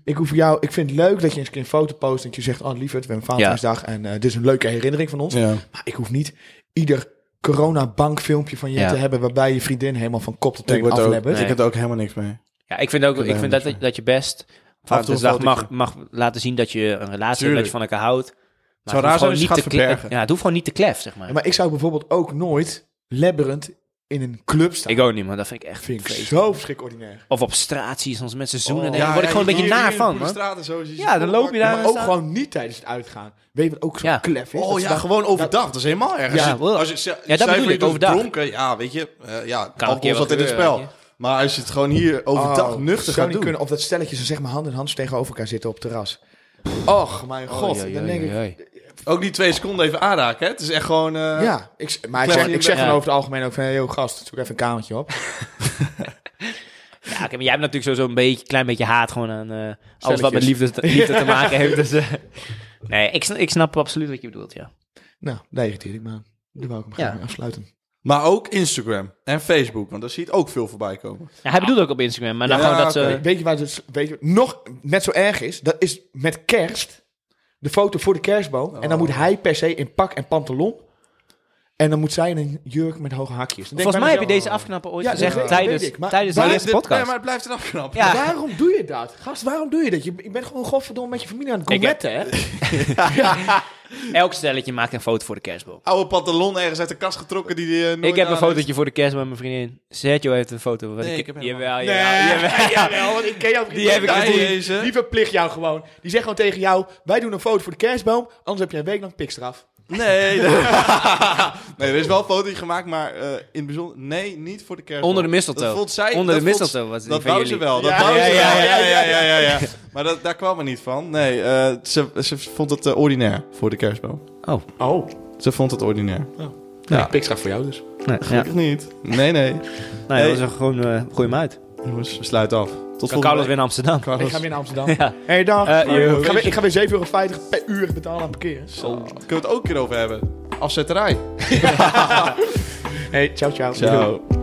Speaker 1: ik hoef jou, ik vind het leuk dat je eens een keer een foto post. En dat je zegt, oh lieverd, we hebben Valentijnsdag. En eh, dit is een leuke herinnering van ons.
Speaker 2: ja.
Speaker 1: Maar ik hoef niet ieder coronabankfilmpje van je
Speaker 3: Ja.
Speaker 1: te hebben... waarbij je vriendin helemaal van kop tot
Speaker 2: Ik
Speaker 1: teen
Speaker 2: word ook,
Speaker 1: aflebbert.
Speaker 2: ik heb er ook helemaal niks mee.
Speaker 3: ja ik vind, ook, ik vind dat, dat- dat je best Valentijnsdag
Speaker 2: fotootje.
Speaker 3: mag, mag laten zien dat je een relatie hebt,
Speaker 2: Tuurlijk.
Speaker 3: dat je van elkaar houdt. Maar het
Speaker 2: raar
Speaker 3: hoeft
Speaker 2: zijn
Speaker 3: gewoon
Speaker 2: als je
Speaker 3: niet
Speaker 2: gaat
Speaker 3: te kle-
Speaker 2: verbergen.
Speaker 3: Ja, het hoeft gewoon niet te klef, zeg maar.
Speaker 1: Ja, Maar ik zou bijvoorbeeld ook nooit lebberend in een club staan.
Speaker 3: Ik ook niet, man. Dat vind ik echt...
Speaker 1: vind ik
Speaker 3: vreselijk.
Speaker 1: zo verschrikkelijk ordinair.
Speaker 3: Of op straat zie je soms mensen zoenen.
Speaker 1: Oh.
Speaker 3: en daar word ik gewoon een beetje naar van, man. Ja, dan loop je daar-
Speaker 1: Maar ook gewoon niet tijdens het uitgaan. Weet je wat ook zo'n
Speaker 3: Ja.
Speaker 1: klef is?
Speaker 2: Oh
Speaker 1: Dat ze
Speaker 2: ja,
Speaker 1: dan-
Speaker 2: gewoon overdag. Dat is helemaal erg.
Speaker 3: Ja,
Speaker 2: Ja,
Speaker 3: wel.
Speaker 2: als je, ze-
Speaker 3: Ja, dat
Speaker 2: cijfer
Speaker 3: bedoel
Speaker 2: je
Speaker 3: ik,
Speaker 2: doet
Speaker 3: overdag.
Speaker 2: dronken, ja, weet je. eh ja,
Speaker 3: keer
Speaker 2: alcohol
Speaker 3: wat
Speaker 2: zat in het
Speaker 3: gebeuren,
Speaker 2: spel.
Speaker 3: weet
Speaker 2: Maar als je het gewoon hier overdag
Speaker 1: Oh,
Speaker 2: nuchter
Speaker 1: zou
Speaker 2: gaat
Speaker 1: niet
Speaker 2: doen.
Speaker 1: Kunnen, of dat stelletje ze zeg maar hand in hand tegenover elkaar zitten op het terras. Och, mijn god.
Speaker 3: Oei, oei,
Speaker 1: dan
Speaker 3: oei,
Speaker 1: denk ik,
Speaker 3: oei.
Speaker 2: Ook die twee seconden even aanraken, hè? Het is echt gewoon... eh,
Speaker 1: ja, ik, maar ik
Speaker 2: Klem
Speaker 1: zeg,
Speaker 2: je
Speaker 1: ik zeg
Speaker 3: bek.
Speaker 1: dan
Speaker 3: Ja.
Speaker 1: over het algemeen ook van... Hey, yo, gast, zoek even een kamertje op.
Speaker 3: Ja, oké, maar jij hebt natuurlijk sowieso een beetje, klein beetje haat gewoon aan eh, alles wat
Speaker 1: Stelletjes.
Speaker 3: met liefde te, liefde te maken heeft. Dus, eh, nee, ik, sn- ik snap absoluut wat je bedoelt, ja.
Speaker 1: nou, daar irriteer ik me aan. Daar wou ik hem
Speaker 3: Ja.
Speaker 1: graag mee afsluiten.
Speaker 2: Maar ook Instagram en Facebook, want daar zie je het ook veel voorbij komen.
Speaker 3: Ja, hij bedoelt ook op Instagram, maar dan
Speaker 2: Ja,
Speaker 3: gewoon dat ze...
Speaker 2: oké.
Speaker 1: Weet je waar het weet je, nog net zo erg is? Dat is met kerst. De foto voor de kerstboom. En dan moet hij per se in pak en pantalon. En dan moet zij in een jurk met hoge hakjes. Dan denk
Speaker 3: Volgens
Speaker 1: ik
Speaker 3: mij
Speaker 1: bij
Speaker 3: heb je deze afknapper ooit
Speaker 1: Ja, dat
Speaker 3: gezegd
Speaker 1: weet- dat
Speaker 3: tijdens,
Speaker 1: weet ik, maar-
Speaker 3: tijdens de
Speaker 1: Maar
Speaker 3: eerste
Speaker 2: dit- nee,
Speaker 3: podcast.
Speaker 2: maar het blijft een afknap.
Speaker 3: Ja.
Speaker 1: mezelf, Waarom doe je dat? Gast, waarom doe je dat? Je, je bent gewoon godverdomme met je familie aan het
Speaker 3: Ik heb-
Speaker 1: gourmetten, hè?
Speaker 3: Elk stelletje maakt een foto voor de kerstboom.
Speaker 2: Oude pantalon ergens uit de kast getrokken die die eh, nooit
Speaker 3: ik heb een
Speaker 2: aan
Speaker 3: fotootje voor de kerst met mijn vriendin. Sergio heeft een foto. van de
Speaker 2: Nee,
Speaker 3: ke-
Speaker 2: ik heb helemaal-
Speaker 3: jawel,
Speaker 1: Nee,
Speaker 3: jawel, jawel.
Speaker 1: jawel, want ik ken jou.
Speaker 3: Die heb ik
Speaker 1: die-
Speaker 2: gezien.
Speaker 1: die, die verplicht jou gewoon. Die zegt gewoon tegen jou, wij doen een foto voor de kerstboom, anders heb je een week lang pikstraf.
Speaker 2: heeft. Nee, nee. nee, er is wel een foto gemaakt, maar eh, in het bijzonder... Nee, niet voor de kerst.
Speaker 3: Onder de mistletoe.
Speaker 2: Dat vond zij...
Speaker 3: Onder de
Speaker 2: dat vond-
Speaker 3: mistletoe was die
Speaker 2: Dat
Speaker 3: van
Speaker 2: wou
Speaker 3: jullie.
Speaker 2: ze wel. Dat
Speaker 1: Ja,
Speaker 2: wou
Speaker 1: ja,
Speaker 2: ze
Speaker 1: ja,
Speaker 2: wel.
Speaker 1: ja,
Speaker 2: Ja,
Speaker 1: ja,
Speaker 2: ja, ja, ja, ja. Maar dat, daar kwam er niet van. Nee, eh, ze, ze vond het eh, ordinair voor de kerstboom.
Speaker 3: Oh,
Speaker 1: Oh,
Speaker 2: Ze vond het ordinair.
Speaker 1: ja.
Speaker 3: Ja.
Speaker 1: pikstraf voor jou dus.
Speaker 3: nee, ja.
Speaker 2: Gelukkig niet. Nee, nee.
Speaker 3: Nou,
Speaker 2: Hey.
Speaker 3: dat is een gewoon eh gooi hem uit.
Speaker 2: Jongens, we sluiten af. Tot volgende
Speaker 3: Kan Carlos
Speaker 2: week.
Speaker 3: weer naar Amsterdam.
Speaker 1: Ik
Speaker 2: Carlos.
Speaker 1: ga weer naar Amsterdam.
Speaker 3: Ja.
Speaker 1: Hey, dag.
Speaker 3: Eh, yo.
Speaker 1: ik, ga weer, ik ga weer 7,50 euro per uur betalen aan parkeren.
Speaker 2: Zo. Kunnen we het ook een keer over hebben? Afzetterij.
Speaker 1: Hey, ciao, ciao.
Speaker 2: Ciao.